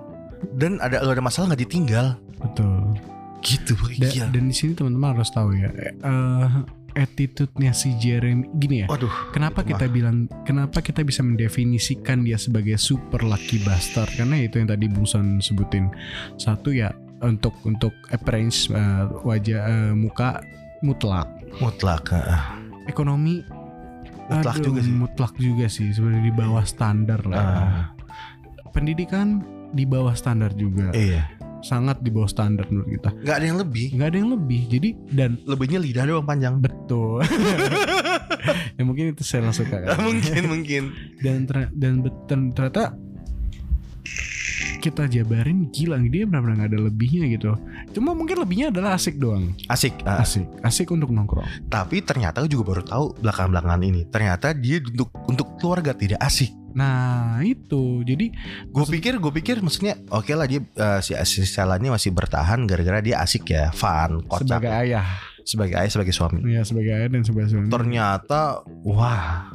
A: dan ada lo ada masalah nggak ditinggal
B: Betul.
A: gitu
B: Da-
A: gila
B: Dan di sini teman-teman harus tahu ya, eh, eh, attitude-nya si Jeremy gini ya.
A: waduh
B: Kenapa
A: itu
B: kita bilang kenapa kita bisa mendefinisikan dia sebagai super lucky bastard? Karena itu yang tadi Bung Son sebutin. Satu ya untuk untuk appearance eh, wajah eh, muka mutlak.
A: mutlak ah.
B: Ekonomi
A: mutlak
B: aduh,
A: juga sih
B: Mutlak juga sih sebenarnya di bawah standar lah.
A: Ah,
B: Pendidikan di bawah standar juga.
A: iya
B: Sangat di bawah standar menurut kita.
A: nggak ada yang lebih
B: nggak ada yang lebih jadi dan
A: lebihnya lidah doang panjang
B: betul ya mungkin itu saya langsung suka kan
A: [laughs] mungkin mungkin
B: dan ternyata, dan bet- dan ternyata kita jabarin gila dia benar-benar nggak ada lebihnya gitu cuma mungkin lebihnya adalah asik doang
A: asik ah.
B: asik asik untuk nongkrong
A: tapi ternyata gue juga baru tahu belakang belakangan ini ternyata dia untuk untuk keluarga tidak asik
B: nah itu jadi
A: Gue pikir, gue pikir maksudnya oke lah dia eh, si si Sela ini masih bertahan gara-gara dia asik ya, fun, kocak
B: sebagai
A: sebagai,
B: ayah
A: ayah, sebagai suami.
B: ya sebagai ayah dan sebagai suami
A: Ternyata wah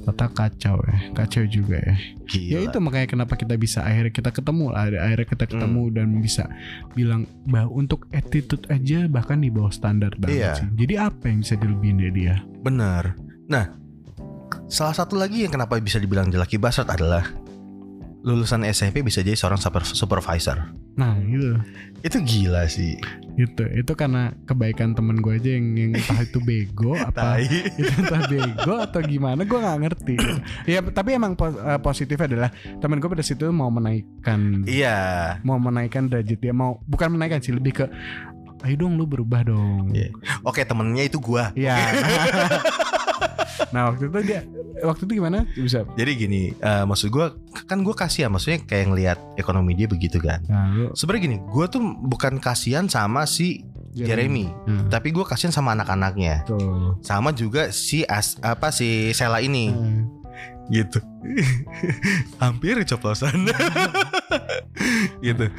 B: tata kacau ya kacau juga ya
A: gila.
B: ya itu makanya kenapa kita bisa akhirnya kita ketemu lah, akhirnya kita ketemu
A: Hmm.
B: dan bisa bilang bah untuk attitude aja bahkan di bawah standar banget
A: Iya.
B: sih jadi apa yang bisa dilebihin dari dia
A: Bener. Nah, salah satu lagi yang kenapa bisa dibilang jelaki bastard adalah lulusan SMP bisa jadi seorang super- supervisor.
B: nah gitu
A: Itu gila sih.
B: itu Gitu. itu karena kebaikan temen gue aja yang, yang entah itu
A: [laughs]
B: bego apa
A: Tai.
B: [laughs] itu entah bego atau gimana gue nggak
A: [coughs]
B: ngerti ya tapi emang pos- eh, positifnya adalah temen gue pada situ mau menaikkan
A: Iya.
B: mau menaikkan derajat dia mau bukan menaikkan sih lebih ke ayo dong lu berubah dong
A: Iya. Oke temennya itu gua. [laughs]
B: Iya. [laughs] nah waktu itu dia waktu itu gimana bisa?
A: Jadi gini, eh, maksud gua kan gua kasihan, maksudnya kayak ngelihat ekonomi dia begitu kan.
B: Nah, lu-
A: Sebenarnya gini, gue tuh bukan kasihan sama si Jeremy,
B: Hmm.
A: tapi gue kasihan sama anak-anaknya,
B: Tuh.
A: sama juga si as, apa si Sela ini,
B: Hmm.
A: gitu. [laughs] Hampir ceplosan, [laughs] gitu.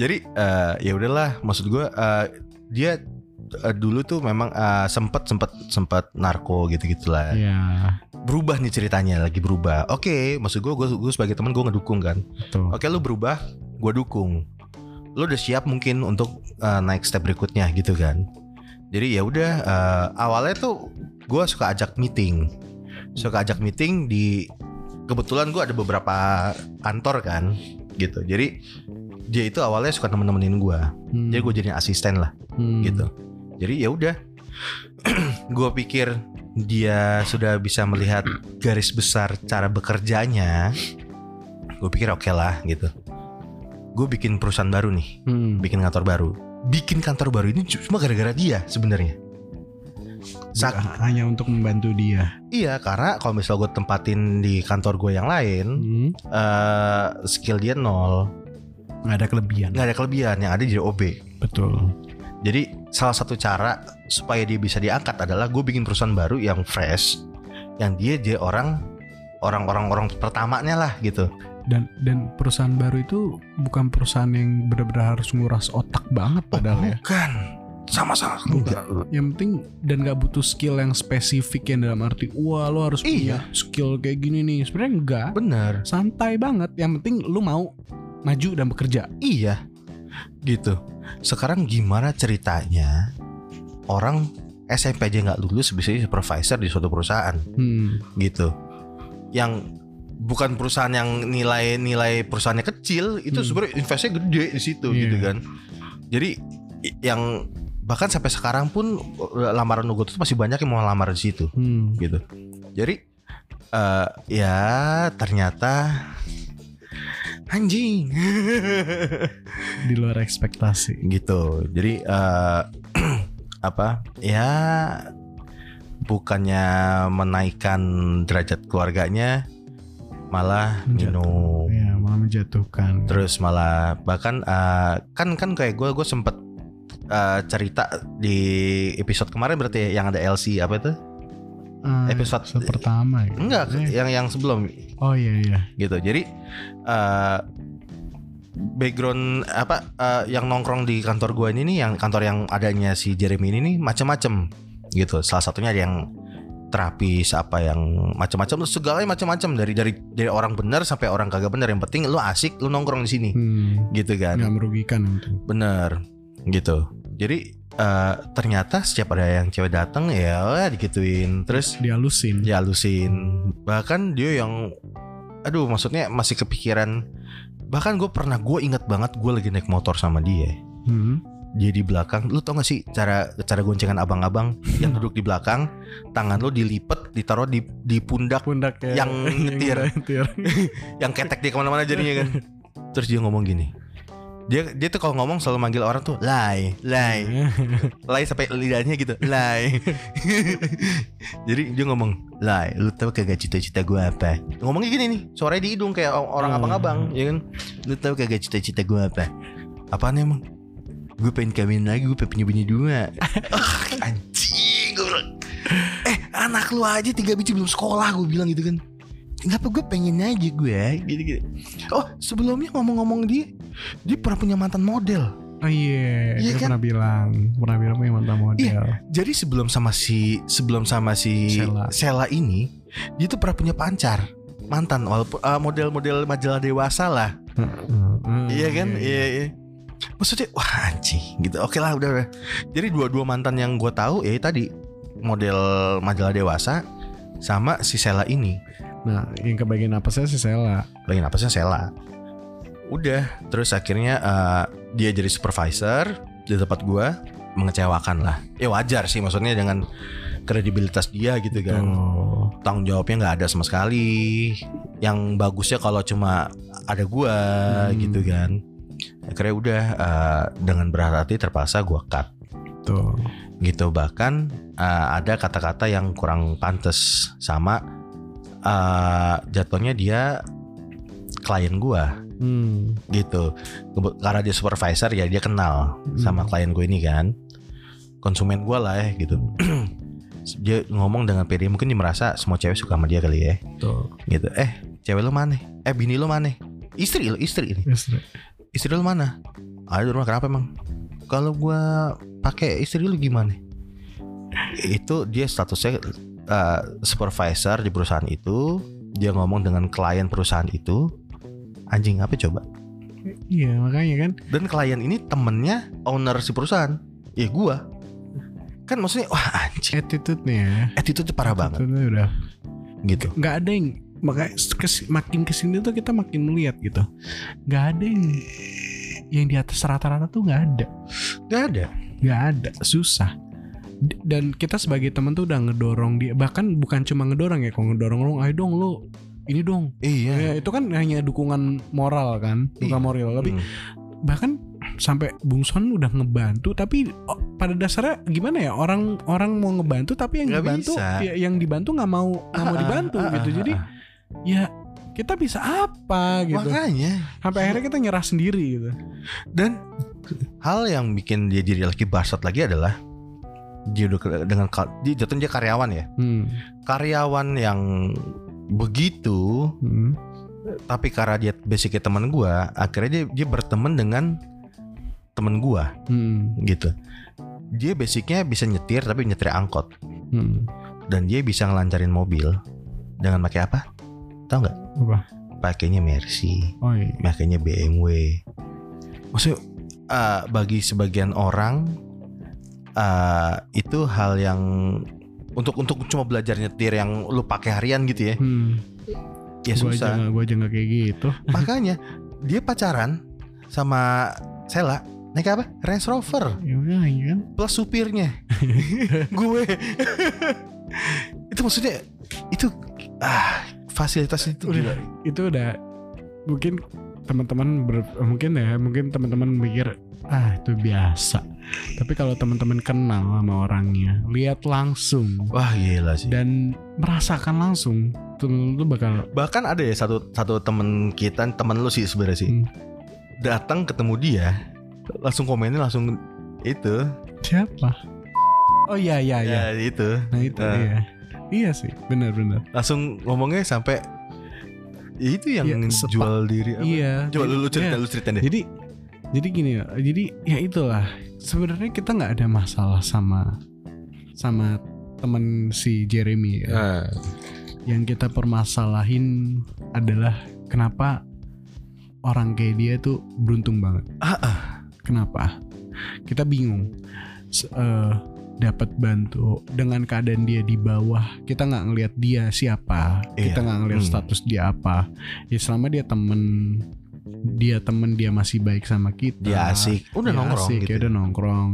A: Jadi eh, ya udahlah, maksud gue eh, dia eh, dulu tuh memang eh, sempet sempet sempet narko gitu gitulah.
B: Iya.
A: Berubah nih ceritanya, lagi berubah. Oke, maksud gue gue sebagai teman gue ngedukung kan.
B: Betul.
A: Oke lu berubah, gue dukung. Lu udah siap mungkin untuk uh, naik step berikutnya gitu kan. Jadi ya udah uh, awalnya tuh gue suka ajak meeting, suka ajak meeting di kebetulan gue ada beberapa kantor kan gitu. Jadi dia itu awalnya suka nemen-nemenin gue.
B: Hmm.
A: Jadi gue jadi asisten lah
B: Hmm.
A: gitu. Jadi ya udah, [clears throat] gue pikir dia sudah bisa melihat garis besar cara bekerjanya. Gue pikir oke lah gitu. Gue bikin perusahaan baru nih,
B: Hmm.
A: bikin kantor baru. Bikin kantor baru ini cuma gara-gara dia sebenarnya. Sak-
B: Hanya untuk membantu dia.
A: iya karena kalau misal gue tempatin di kantor gue yang lain,
B: Hmm.
A: eh, skill dia nol,
B: Nggak ada kelebihan.
A: nggak ada kelebihan yang ada jadi OB.
B: Betul.
A: Jadi salah satu cara supaya dia bisa diangkat adalah gue bikin perusahaan baru yang fresh, yang dia dia orang orang-orang orang pertamanya lah gitu.
B: dan dan perusahaan baru itu bukan perusahaan yang benar-benar harus nguras otak banget padahal ya
A: Bukan sama-sama
B: Enggak. yang penting dan nggak butuh skill yang spesifik yang dalam arti wah lo harus punya skill kayak gini nih sebenarnya enggak
A: Bener.
B: santai banget yang penting lu mau maju dan bekerja
A: Iya. Gitu. Sekarang gimana ceritanya orang SMP aja nggak lulus bisa jadi supervisor di suatu perusahaan
B: hmm.
A: gitu. Yang bukan perusahaan yang nilai-nilai perusahaannya kecil, itu
B: Hmm.
A: sebenarnya investnya gede di situ
B: Iya.
A: gitu kan. Jadi i- yang bahkan sampai sekarang pun eh, lamaran Nugo tuh masih banyak yang mau lamar di situ
B: Hmm.
A: gitu. Jadi eh, ya ternyata anjing [laughs]
B: di luar ekspektasi
A: gitu. Jadi eh, [clears throat] apa ya bukannya menaikkan derajat keluarganya malah minum
B: ya malah menjatuhkan
A: terus malah bahkan eh, kan kan kayak gue gue sempet eh, cerita di episode kemarin berarti ya, yang ada LC apa itu
B: Ah,
A: episode-
B: episode pertama ya?
A: enggak
B: Eh,
A: yang yang sebelum
B: oh iya iya
A: gitu jadi eh, background apa eh, yang nongkrong di kantor gua ini nih yang kantor yang adanya si Jeremy ini nih macam-macam gitu salah satunya ada yang terapis apa yang macam-macam segala macam-macam dari dari dari orang benar sampai orang kagak benar yang penting lu asik lu nongkrong di sini
B: hmm.
A: gitu kan
B: nggak merugikan yang penting.
A: Bener gitu. Jadi eh, ternyata setiap ada yang cewek datang ya wah, digituin terus
B: dihalusin
A: dihalusin. Bahkan dia yang aduh maksudnya masih kepikiran bahkan gue pernah gue ingat banget gue lagi naik motor sama dia
B: Hmm.
A: dia di belakang lu tau gak sih cara cara goncengan abang-abang yang duduk di belakang tangan lu dilipet ditaruh di di pundak
B: pundak ya [laughs]
A: Yang nyetir.
B: nyetir.
A: yang ketek dia kemana-mana jadinya kan terus dia ngomong gini dia dia tuh kalau ngomong selalu manggil orang tuh lai lai lay sampai lidahnya gitu lay jadi dia ngomong lay lu tau kagak cita-cita gue apa ngomongnya gini nih suaranya di hidung kayak o- orang
B: Hmm.
A: abang-abang ya kan lu tau kagak cita-cita gue apa apaan emang gue pengen kawin lagi gue pengen punya bini dua Ah, anjing gue bilang eh anak lu aja tiga biji belum sekolah gue bilang gitu kan Kenapa gue pengen aja gue gitu-gitu. Oh sebelumnya ngomong-ngomong dia Dia pernah punya mantan model
B: [laughs] oh
A: Iya
B: iya dia
A: kan? Iya.
B: pernah bilang pernah bilang punya mantan model
A: Jadi sebelum sama si sebelum sama si
B: Sela.
A: Sela, ini dia tuh pernah punya pancar mantan walaupun eh, model-model majalah dewasa lah
B: Hmm, hmm,
A: iya kan iya iya maksudnya wah anjing gitu oke lah udah, udah. jadi dua-dua mantan yang gue tahu ya tadi model majalah dewasa sama si Sela ini
B: nah yang kebagian apa saya sih Sela
A: lagi napasnya Sela udah terus akhirnya eh, dia jadi supervisor di tempat gue mengecewakan lah ya wajar sih maksudnya dengan kredibilitas dia gitu kan
B: Tuh.
A: tanggung jawabnya nggak ada sama sekali. Yang bagusnya kalau cuma ada gua
B: Hmm.
A: gitu kan. Akhirnya udah eh, dengan berat hati terpaksa gua cut
B: tuh
A: gitu bahkan eh, ada kata-kata yang kurang pantas sama eh, jatuhnya dia klien gua
B: hmm.
A: gitu Kebe- karena dia supervisor ya dia kenal sama
B: Hmm.
A: klien gue ini kan konsumen gua lah ya gitu [clears throat] dia ngomong dengan pede mungkin dia merasa semua cewek suka sama dia kali ya
B: tuh
A: gitu eh cewek lu mana eh bini lu mana istri lu istri ini
B: istri
A: istri lu mana ada di rumah kenapa emang kalau gua pakai istri lu gimana itu dia statusnya eh, supervisor di perusahaan itu dia ngomong dengan klien perusahaan itu anjing apa coba
B: iya makanya kan
A: dan klien ini temennya owner si perusahaan ya gua kan maksudnya wah anjing
B: attitude-nya ya
A: attitude parah banget
B: attitude-nya udah
A: gitu
B: nggak ada yang maka kes- makin kesini tuh kita makin melihat gitu nggak ada yang yang di atas rata-rata tuh nggak ada
A: gak ada
B: nggak ada susah D- dan kita sebagai teman tuh udah ngedorong dia bahkan bukan cuma ngedorong ya kalau ngedorong lo ayo dong lo ini dong
A: iya
B: ya, itu kan hanya dukungan moral kan
A: Iya.
B: dukungan moral tapi
A: Hmm.
B: bahkan sampai Bung Son udah ngebantu tapi oh, pada dasarnya gimana ya orang orang mau ngebantu tapi yang
A: Nggak
B: dibantu
A: bisa.
B: ya- yang dibantu nggak mau nggak
A: Ah,
B: mau
A: ah,
B: dibantu
A: ah,
B: gitu
A: ah,
B: jadi
A: ah.
B: ya kita bisa apa gitu
A: makanya
B: sampai akhirnya kita nyerah sendiri gitu
A: dan hal yang bikin dia jadi laki barsat lagi adalah dia udah ke- dengan ka- dia jatuhnya dia karyawan ya
B: Hmm.
A: karyawan yang begitu
B: Hmm.
A: tapi karena dia basicnya teman gua akhirnya dia, dia berteman dengan teman gua
B: Hmm.
A: gitu dia basicnya bisa nyetir tapi nyetir angkot
B: Hmm.
A: dan dia bisa ngelancarin mobil dengan pakai apa tahu nggak
B: Apa?
A: pakainya Mercy
B: Oh iya.
A: makanya BMW. Maksudnya eh, bagi sebagian orang eh, itu hal yang untuk untuk cuma belajar nyetir yang lu pakai harian gitu ya,
B: Hmm.
A: ya
B: Gua aja [laughs]
A: susah.
B: nggak- gua aja nggak kayak gitu.
A: Makanya dia pacaran sama Sela naik apa? Range Rover
B: Ya udah ya kan.
A: plus
B: [laughs]
A: supirnya. Gue. itu maksudnya itu ah fasilitas itu
B: Udah.
A: gila.
B: Itu udah mungkin teman-teman ber- mungkin ya mungkin teman-teman mikir ah itu biasa. Tapi kalau teman-teman kenal sama orangnya, lihat langsung
A: Wah gila sih.
B: dan merasakan langsung, temen lu tuh bakal
A: bahkan ada ya satu satu temen kita temen lu sih sebenarnya sih
B: Hmm.
A: datang ketemu dia langsung komennya langsung itu
B: siapa? Oh iya iya iya.
A: ya itu
B: Nah itu
A: Nah.
B: dia. Iya sih, benar-benar.
A: langsung ngomongnya sampai ya itu yang
B: Ya, sepak.
A: jual diri apa
B: Iya.
A: coba lu, lu cerita
B: Iya.
A: lu cerita deh
B: Jadi jadi gini ya. Jadi ya itulah. Sebenarnya kita nggak ada masalah sama sama teman si Jeremy. Ya.
A: Ah,
B: Yang kita permasalahin adalah kenapa orang kayak dia tuh beruntung banget.
A: Ah,
B: Kenapa? Kita bingung. S- eh, dapat bantu dengan keadaan dia di bawah kita nggak ngelihat dia siapa
A: Iya.
B: kita nggak ngelihat
A: Hmm.
B: status dia apa ya selama dia temen dia temen dia masih baik sama kita
A: dia Ya, asik udah
B: dia
A: nongkrong
B: asik,
A: gitu
B: ya Ah, udah nongkrong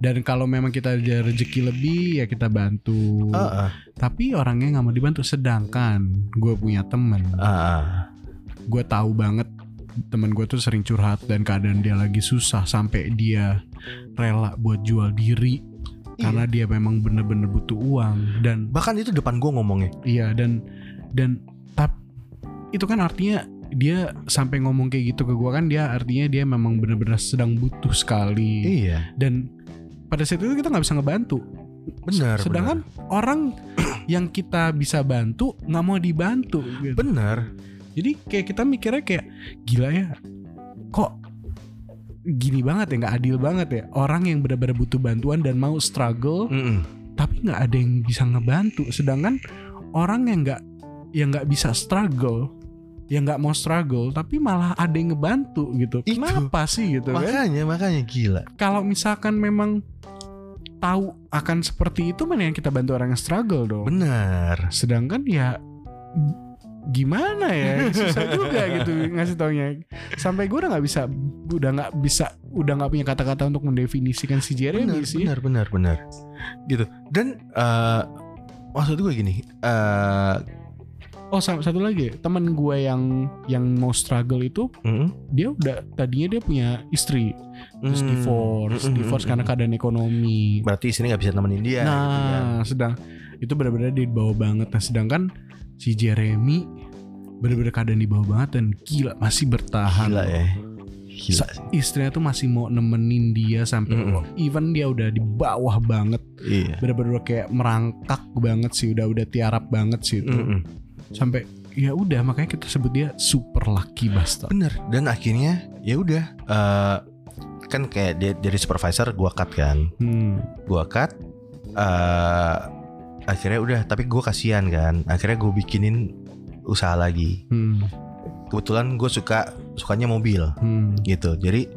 B: dan kalau memang kita ada rezeki lebih ya kita bantu
A: Ah, ah,
B: tapi orangnya nggak mau dibantu sedangkan gue punya temen
A: ah, ah.
B: gue tahu banget temen gue tuh sering curhat dan keadaan dia lagi susah sampai dia rela buat jual diri
A: Iya.
B: karena dia memang bener-bener butuh uang dan
A: bahkan itu depan gua ngomongnya
B: Iya dan dan tap itu kan artinya dia sampai ngomong kayak gitu ke gua kan dia artinya dia memang benar-benar sedang butuh sekali
A: iya
B: dan pada saat itu kita nggak bisa ngebantu.
A: benar
B: Sedangkan orang [clears throat] yang kita bisa bantu nggak mau dibantu. gitu.
A: benar
B: Jadi kayak kita mikirnya kayak gila ya kok gini banget ya nggak adil banget ya orang yang benar-benar butuh bantuan dan mau struggle
A: Mm-mm.
B: tapi nggak ada yang bisa ngebantu sedangkan orang yang nggak yang nggak bisa struggle yang nggak mau struggle tapi malah ada yang ngebantu gitu
A: Itu.
B: kenapa sih gitu kan
A: makanya makanya gila
B: kalau misalkan memang tahu akan seperti itu mana yang kita bantu orang yang struggle dong
A: benar
B: sedangkan ya gimana ya susah juga gitu ngasih taunya sampai gue udah nggak bisa udah nggak bisa udah nggak punya kata-kata untuk mendefinisikan si
A: benar,
B: Jeremy sih
A: benar benar benar gitu dan eh maksud gue gini eh
B: Oh sama satu lagi teman gue yang yang mau struggle itu
A: mm,
B: dia udah tadinya dia punya istri terus
A: mm,
B: divorce
A: mm, mm,
B: divorce
A: mm,
B: karena
A: mm.
B: keadaan ekonomi.
A: berarti sini nggak bisa nemenin dia
B: nah
A: gitu kan.
B: sedang itu benar-benar di bawah banget. Nah sedangkan si Jeremy benar-benar keadaan di bawah banget dan gila masih bertahan.
A: gila ya gila
B: Sa- Istrinya tuh masih mau nemenin dia sampai
A: Mm-mm.
B: even dia udah di bawah banget,
A: iya
B: benar-benar kayak merangkak banget sih, udah udah tiarap banget sih itu.
A: Mm-mm.
B: sampai ya udah makanya kita sebut dia super lucky bastard
A: benar dan akhirnya ya udah eh, kan kayak dia jadi supervisor gua cut kan
B: hmm.
A: gua cut eh akhirnya udah tapi gua kasihan kan akhirnya gue bikinin usaha lagi
B: Hmm.
A: kebetulan gue suka sukanya mobil
B: Hmm.
A: gitu jadi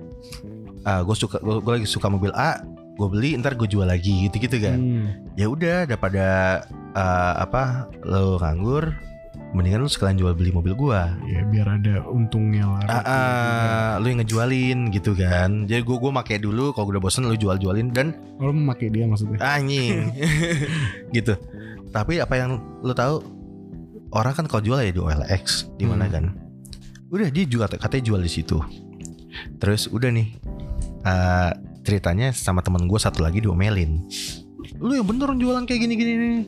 A: gue suka gue lagi suka mobil A gue beli ntar gue jual lagi gitu gitu kan
B: Hmm.
A: ya udah daripada eh, apa lo nganggur mendingan lu sekalian jual beli mobil gua
B: ya biar ada untungnya lah
A: Ah, ah, lu yang ngejualin gitu kan jadi gue gue make dulu kalau udah bosen lu jual jualin dan
B: kalau memakai dia maksudnya
A: anjing [laughs] gitu tapi apa yang lu tahu orang kan kalau jual ya di OLX di mana
B: Hmm.
A: kan udah dia juga katanya jual di situ terus udah nih eh, ceritanya sama teman gue satu lagi diomelin lu yang bener jualan kayak gini gini nih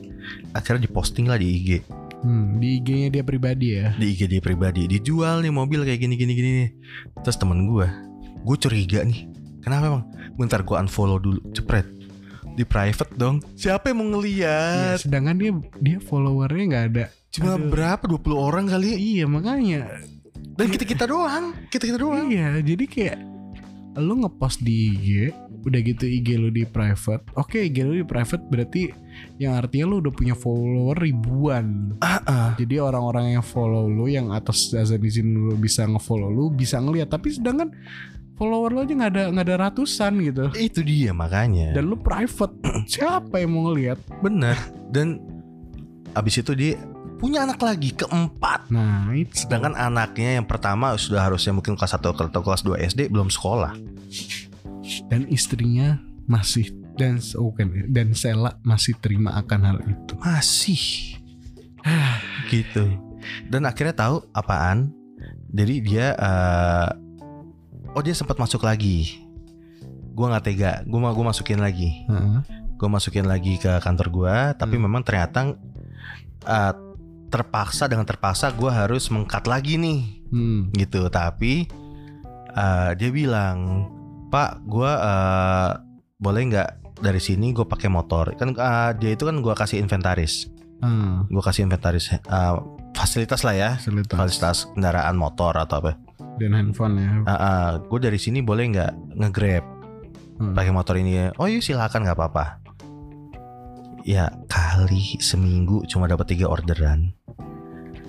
A: akhirnya diposting lah di IG
B: hmm. di IG-nya dia pribadi ya
A: di IG dia pribadi dijual nih mobil kayak gini gini gini nih terus temen gue gue curiga nih Kenapa emang? Bentar gue unfollow dulu. Cepret. Di private dong. Siapa yang mau
B: Iya,
A: ngeliat?
B: sedangkan dia dia followernya nggak ada.
A: Cuma
B: Aduh.
A: berapa? 20 orang kali.
B: Iya makanya
A: Dan kita-kita doang. Kita-kita doang.
B: Iya, jadi kayak lu ngepost di IG, udah gitu IG lu di private. Oke, IG lu di private berarti yang artinya lu udah punya follower ribuan.
A: Ah, ah.
B: Jadi orang-orang yang follow lu yang atas dasar izin lu bisa ngefollow lu bisa ngeliat. Tapi sedangkan follower lu aja nggak ada nggak ada ratusan gitu.
A: Itu dia makanya.
B: Dan lu private, [clears throat] siapa yang mau ngeliat?
A: Bener. Dan abis itu dia punya anak lagi keempat.
B: Nah itu.
A: Sedangkan anaknya yang pertama sudah harusnya mungkin kelas 1 atau kelas 2 SD belum sekolah.
B: dan istrinya masih dan oh, bukan, dan Sela masih terima akan hal itu.
A: Masih. gitu. Dan akhirnya tahu apaan. Jadi dia eh, oh dia sempat masuk lagi. Gua nggak tega. Gua mau gua masukin lagi.
B: Heeh.
A: Gua masukin lagi ke kantor gua, tapi
B: Hmm.
A: memang ternyata eh, terpaksa dengan terpaksa gua harus mengkat lagi nih.
B: Hmm.
A: gitu tapi eh, dia bilang pak gua eh, boleh nggak dari sini gue pakai motor kan eh, dia itu kan gua kasih inventaris
B: Ah,
A: gue kasih inventaris eh, fasilitas lah ya
B: fasilitas.
A: fasilitas kendaraan motor atau apa
B: dan handphone ya.
A: gue dari sini boleh nggak ngegrab
B: Hmm.
A: pakai motor ini oh iya silakan nggak apa-apa ya kali seminggu cuma dapat tiga orderan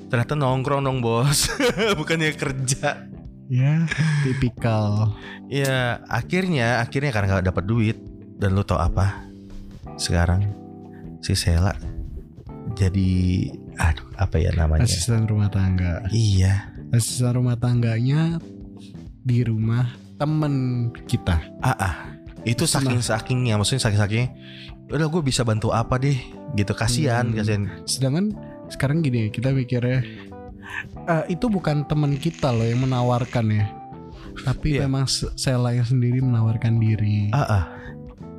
A: ternyata nongkrong dong bos [laughs] bukannya kerja
B: Ya, tipikal.
A: Ya akhirnya akhirnya karena nggak dapat duit dan lu tau apa sekarang si Sela jadi aduh apa ya namanya
B: Asisten rumah tangga.
A: iya
B: Asisten rumah tangganya di rumah temen kita.
A: ah, ah. itu saking sakingnya maksudnya saking sakingnya udah gue bisa bantu apa deh gitu kasihan
B: Hmm.
A: kasihan
B: Sedangkan sekarang gini kita mikirnya eh, itu bukan teman kita loh yang menawarkan ya. Tapi
A: Iya.
B: memang se- Sela yang sendiri menawarkan diri.
A: ah, ah.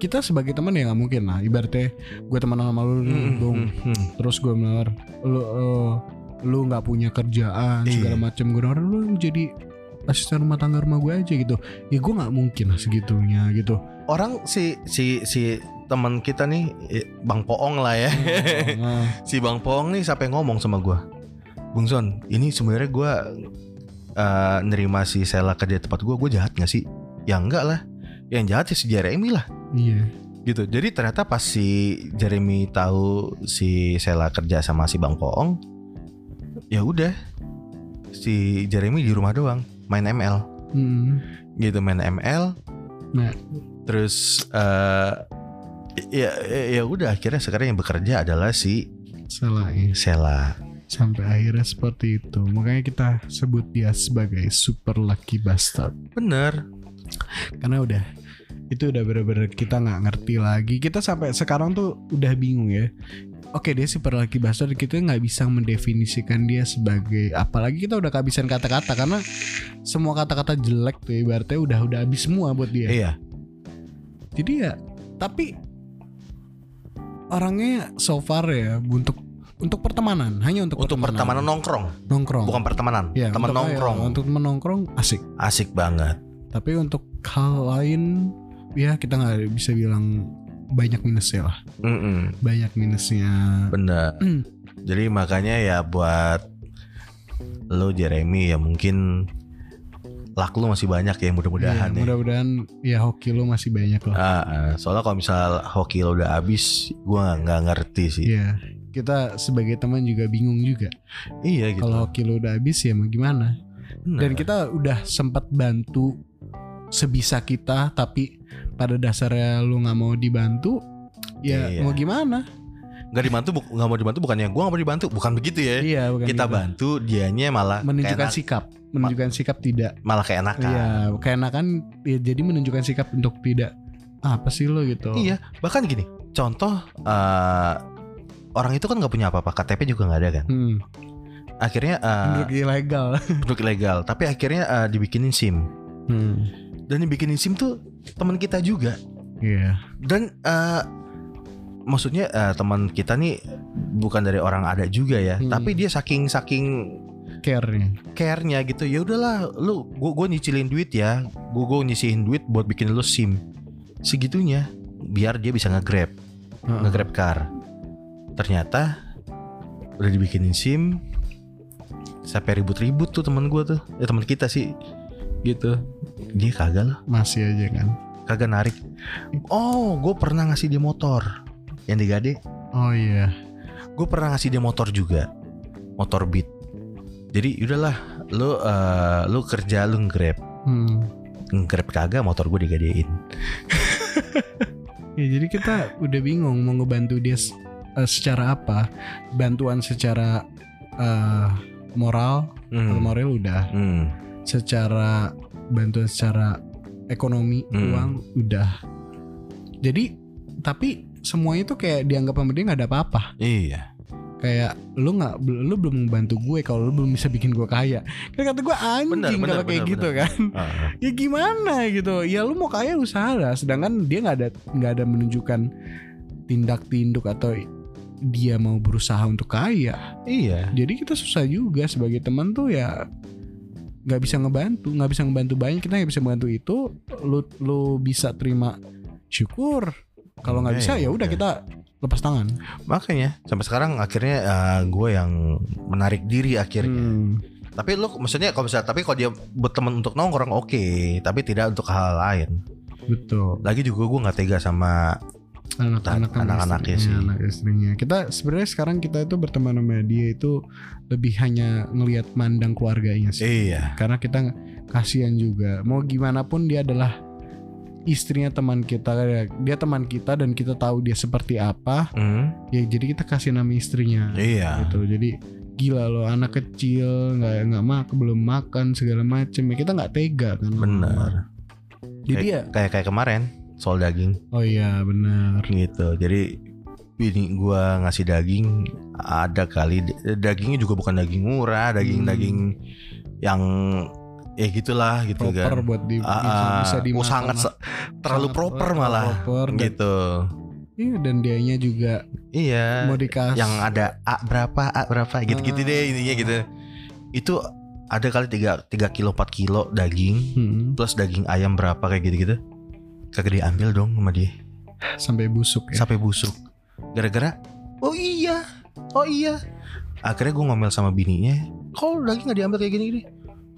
B: Kita sebagai teman ya nggak mungkin lah. Ibaratnya gue teman sama lu, nih,
A: Mm,
B: Bung.
A: mm, mm.
B: terus gue nawar lu eh, lu nggak punya kerjaan
A: Iya.
B: segala macam gue nawar lu jadi asisten rumah tangga rumah gue aja gitu ya gue nggak mungkin lah segitunya gitu
A: orang si si si teman kita nih eh, Bang Poong lah ya
B: Nah,
A: [laughs] si Bang Poong nih sampai ngomong sama gua Bung Son ini sebenarnya gua eh, nerima si Sela kerja di tempat gua Gue jahat gak sih? Ya enggak lah Yang jahat sih si Jeremy lah
B: iya
A: gitu Jadi ternyata pas si Jeremy tahu si Sela kerja sama si Bang Poong ya udah Si Jeremy di rumah doang Main ML
B: Hmm.
A: gitu main ML
B: Nah.
A: Terus eh, ya, ya ya udah akhirnya sekarang yang bekerja adalah si
B: salah ya.
A: Sela
B: sampai akhirnya seperti itu makanya kita sebut dia sebagai super lucky bastard
A: Bener
B: karena udah itu udah bener-bener kita nggak ngerti lagi kita sampai sekarang tuh udah bingung ya oke dia super lucky bastard kita nggak bisa mendefinisikan dia sebagai apalagi kita udah kehabisan kata-kata karena semua kata-kata jelek tuh ibaratnya udah udah habis semua buat dia
A: Iya,
B: jadi ya tapi orangnya so far ya untuk untuk pertemanan hanya untuk,
A: untuk pertemanan nongkrong,
B: nongkrong
A: bukan pertemanan,
B: Ya,
A: teman
B: untuk-
A: nongkrong.
B: ya, untuk teman nongkrong asik
A: Asik banget.
B: tapi untuk hal lain ya kita nggak bisa bilang banyak minusnya lah
A: Mm-mm,
B: banyak minusnya
A: bener.
B: Hmm.
A: Jadi makanya ya buat lo Jeremy ya mungkin lak lu masih banyak ya mudah-mudahan
B: Iya,
A: ya.
B: mudah-mudahan ya hoki lo masih banyak lah
A: Ah, ah, soalnya kalau misal hoki lo udah habis, gua nggak ngerti sih.
B: Iya, kita sebagai teman juga bingung juga
A: Iya gitu.
B: kalau hoki lo udah habis ya mau gimana
A: Bener.
B: dan kita udah sempat bantu sebisa kita tapi pada dasarnya lu nggak mau dibantu ya
A: Iya.
B: mau gimana
A: nggak dibantu, bu- nggak mau dibantu bukannya gua nggak mau dibantu, bukan begitu ya.
B: iya bukan
A: kita
B: gitu.
A: bantu, dianya malah
B: menunjukkan
A: keenak-
B: sikap menunjukkan sikap tidak
A: malah keenakan.
B: Iya, keenakan ya jadi menunjukkan sikap untuk tidak "Ah, apa sih lo gitu.
A: Iya, bahkan gini, contoh eh, orang itu kan nggak punya apa-apa, KTP juga nggak ada kan.
B: Hmm,
A: Akhirnya eh,
B: menurut ilegal.
A: penduduk ilegal, tapi akhirnya eh, dibikinin SIM.
B: Hmm.
A: Dan dibikinin SIM tuh teman kita juga.
B: Iya.
A: Dan eh, maksudnya eh, teman kita nih bukan dari orang ada juga ya,
B: Hmm.
A: tapi dia saking saking
B: care-nya.
A: care-nya gitu ya udahlah lu gua gua nyicilin duit ya gua gua nyisihin duit buat bikin lu sim segitunya biar dia bisa nge-grab
B: Heeh.
A: nge-grab car ternyata udah dibikinin sim sampai ribut-ribut tuh teman gua tuh ya teman kita sih gitu dia kagak lah
B: Masih aja kan.
A: kagak narik oh gue pernah ngasih dia motor yang digade
B: Oh iya.
A: gue pernah ngasih dia motor juga motor beat jadi udahlah lu eh, lu kerja lu grab
B: Hmm.
A: grab kagak motor gue digadein
B: Ya jadi
A: [laughs]
B: kita udah bingung mau ngebantu dia s- eh, secara apa? Bantuan secara eh, moral, kalau
A: hmm.
B: moral udah.
A: Hmm.
B: Secara bantuan secara ekonomi,
A: Hmm.
B: uang udah. Jadi tapi semuanya tuh kayak dianggap sama dia nggak ada apa-apa.
A: iya
B: kayak lu nggak lu belum membantu gue kalau lu belum bisa bikin gue kaya kan kata gue
A: Benar,
B: anjing
A: benar,
B: kalau kayak
A: benar,
B: gitu
A: benar.
B: kan
A: Ah,
B: ya gimana gitu ya lu mau kaya usaha lah sedangkan dia nggak ada nggak ada menunjukkan tindak tinduk atau dia mau berusaha untuk kaya
A: iya
B: jadi kita susah juga sebagai teman tuh ya nggak bisa ngebantu nggak bisa ngebantu banyak kita nggak bisa ngebantu itu lu lu bisa terima syukur kalau nggak
A: Oke,
B: bisa ya udah
A: oke.
B: kita lepas tangan
A: Iya, makanya sampai sekarang akhirnya gue yang menarik diri akhirnya
B: Hmm.
A: tapi lu maksudnya kalau misalnya tapi kalau dia berteman untuk nongkrong oke tapi tidak untuk hal lain
B: betul
A: lagi juga gue nggak tega sama
B: anak-anak
A: Anak-anaknya ya sih.
B: anak istrinya kita sebenarnya sekarang kita itu berteman sama dia itu lebih hanya ngelihat mandang keluarganya sih
A: iya
B: karena kita nge- kasihan juga mau gimana pun dia adalah istrinya teman kita ya, dia teman kita dan kita tahu dia seperti apa
A: Hmm.
B: ya jadi kita kasih nama istrinya
A: iya
B: gitu jadi gila loh anak kecil nggak nggak mak belum makan segala macem ya kita nggak tega kan
A: Benar.
B: jadi ya
A: kayak kayak kemarin soal daging
B: oh iya benar
A: gitu jadi ini gua ngasih daging ada kali d- dagingnya juga bukan daging murah daging
B: Hmm.
A: daging yang ya gitulah gitu
B: proper
A: kan
B: buat di,
A: Ah, ah, oh,
B: bisa dimakan
A: sangat
B: lah.
A: se- terlalu
B: Sangat eh,
A: proper
B: proper,
A: malah
B: proper dan-
A: gitu
B: Iya, dan dianya juga
A: iya
B: mau dikasih
A: yang ada a berapa a berapa gitu gitu
B: Ah.
A: deh intinya gitu itu ada kali 3 3 kilo 4 kilo daging
B: Hmm,
A: plus daging ayam berapa kayak gitu gitu kagak diambil dong sama dia
B: sampai busuk ya.
A: sampai busuk gara-gara oh iya oh iya akhirnya gue ngomel sama bininya kalau lagi nggak diambil kayak gini gini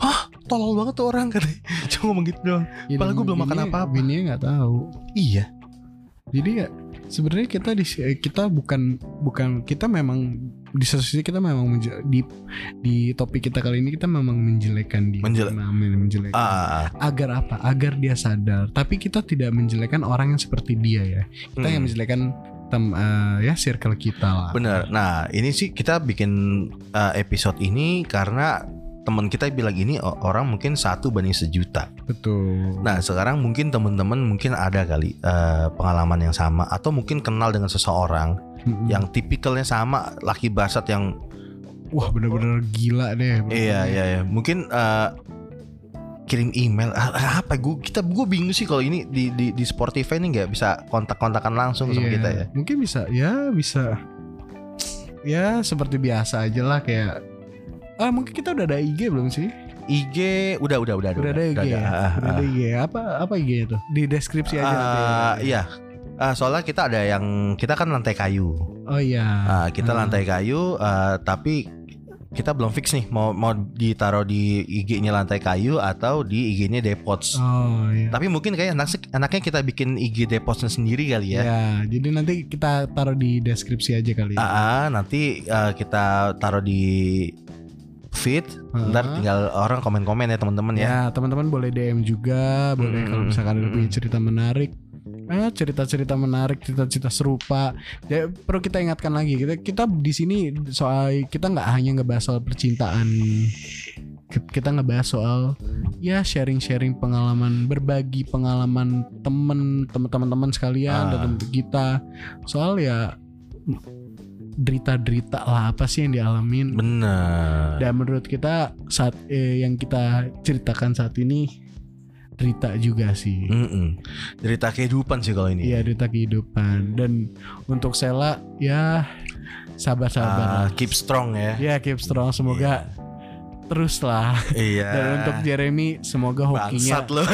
A: hah tolol banget tuh orang katanya [laughs] cuma ngomong gitu doang
B: Ya,
A: padahal
B: dan
A: gua belum makan
B: bininya-
A: apa-apa.
B: Bininya nggak tahu.
A: iya
B: Jadi ya sebenarnya kita di eh, kita bukan bukan kita memang di satu sisi kita memang menje- di di topik kita kali ini kita memang menjelekan dia.
A: Menjele-
B: Memang menjelekan.
A: ah ah, ah.
B: Agar apa? Agar dia sadar. Tapi kita tidak menjelekan orang yang seperti dia ya. Kita
A: Hmm,
B: yang menjelekan tem eh, ya circle kita lah.
A: bener nah ini sih kita bikin uh, episode ini karena teman kita bilang ini o- orang mungkin satu banding sejuta.
B: Betul.
A: Nah sekarang mungkin teman-teman mungkin ada kali uh, pengalaman yang sama atau mungkin kenal dengan seseorang
B: Mm-mm.
A: yang tipikalnya sama laki barsat yang
B: wah bener-bener gila deh.
A: Iya iya iya. Mungkin eh, kirim email Ah, apa gue kita gue bingung sih kalau ini di di di Spotify ini nggak bisa kontak-kontakan langsung sama
B: Iya,
A: kita ya.
B: Mungkin bisa, ya bisa. Ya seperti biasa aja lah kayak. Ah mungkin kita udah ada IG belum sih?
A: IG udah udah udah
B: Udah ada IG ya.
A: ah,
B: Udah
A: ah,
B: ada IG. Apa apa IG itu? Di deskripsi aja. nanti ya.
A: ah. Eh, iya. Ah, soalnya kita ada yang kita kan lantai kayu.
B: Oh iya.
A: Ah, kita
B: Ah.
A: lantai kayu eh, tapi kita belum fix nih mau mau ditaruh di IG-nya lantai kayu atau di IG-nya Depots.
B: Oh iya.
A: Tapi mungkin kayak anak- anaknya kita bikin IG Depotsnya sendiri kali
B: Ya.
A: ya.
B: jadi nanti kita taruh di deskripsi aja kali ya.
A: Ah, ah, nanti eh, kita taruh di feed, ntar
B: Ah.
A: tinggal orang komen-komen ya teman-teman ya.
B: Ya, teman-teman boleh DM juga, boleh
A: Mm,
B: kalau
A: mm,
B: misalkan ada
A: mm,
B: punya
A: mm.
B: cerita menarik. Eh, cerita-cerita menarik, cerita-cerita serupa. Ya, perlu kita ingatkan lagi. Kita kita di sini soal kita nggak hanya ngebahas soal percintaan. Ki- Kita ngebahas soal ya sharing-sharing pengalaman, berbagi pengalaman temen, temen- teman-teman sekalian
A: Ah.
B: dan teman kita. Soal ya derita-derita lah apa sih yang dialamin
A: Bener.
B: dan menurut kita saat eh, yang kita ceritakan saat ini cerita juga sih.
A: Mm-mm. Cerita kehidupan sih kalau ini. ya.
B: Iya, cerita
A: Hmm.
B: kehidupan. Dan untuk Sela ya
A: Ah,
B: sabar-sabar. lah.
A: keep strong ya.
B: Ya keep strong Iya, semoga terus lah
A: [laughs] Iya.
B: [laughs] dan untuk Jeremy semoga
A: bangsat
B: hokinya
A: lo.
B: [laughs]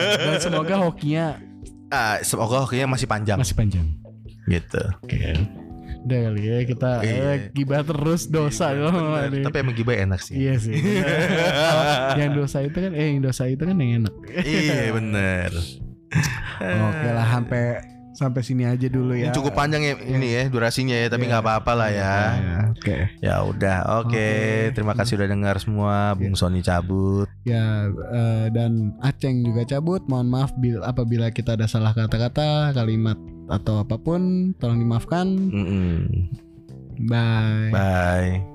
A: [laughs]
B: dan semoga hokinya
A: Ah, semoga hokinya masih panjang
B: masih panjang
A: gitu.
B: oke udah kali ya kita
A: Iya.
B: eh, gibah terus dosa
A: Iya,
B: loh
A: bener.
B: ini.
A: Tapi emang gibah enak sih. [laughs]
B: iya sih yang dosa itu kan eh yang dosa itu kan yang enak
A: Iya bener.
B: oke lah sampai sampai sini aja dulu
A: Ini
B: ya
A: cukup panjang ya ini ya durasinya ya, tapi
B: Iya.
A: nggak apa-apa lah ya.
B: Ya, oke
A: Ya udah, oke.
B: Oke.
A: Terima kasih udah dengar semua. Bung Sony cabut.
B: Ya eh, dan Aceng juga cabut. Mohon maaf bila apabila kita ada salah kata-kata, kalimat atau apapun, tolong dimaafkan.
A: Mm-mm.
B: Bye.
A: Bye.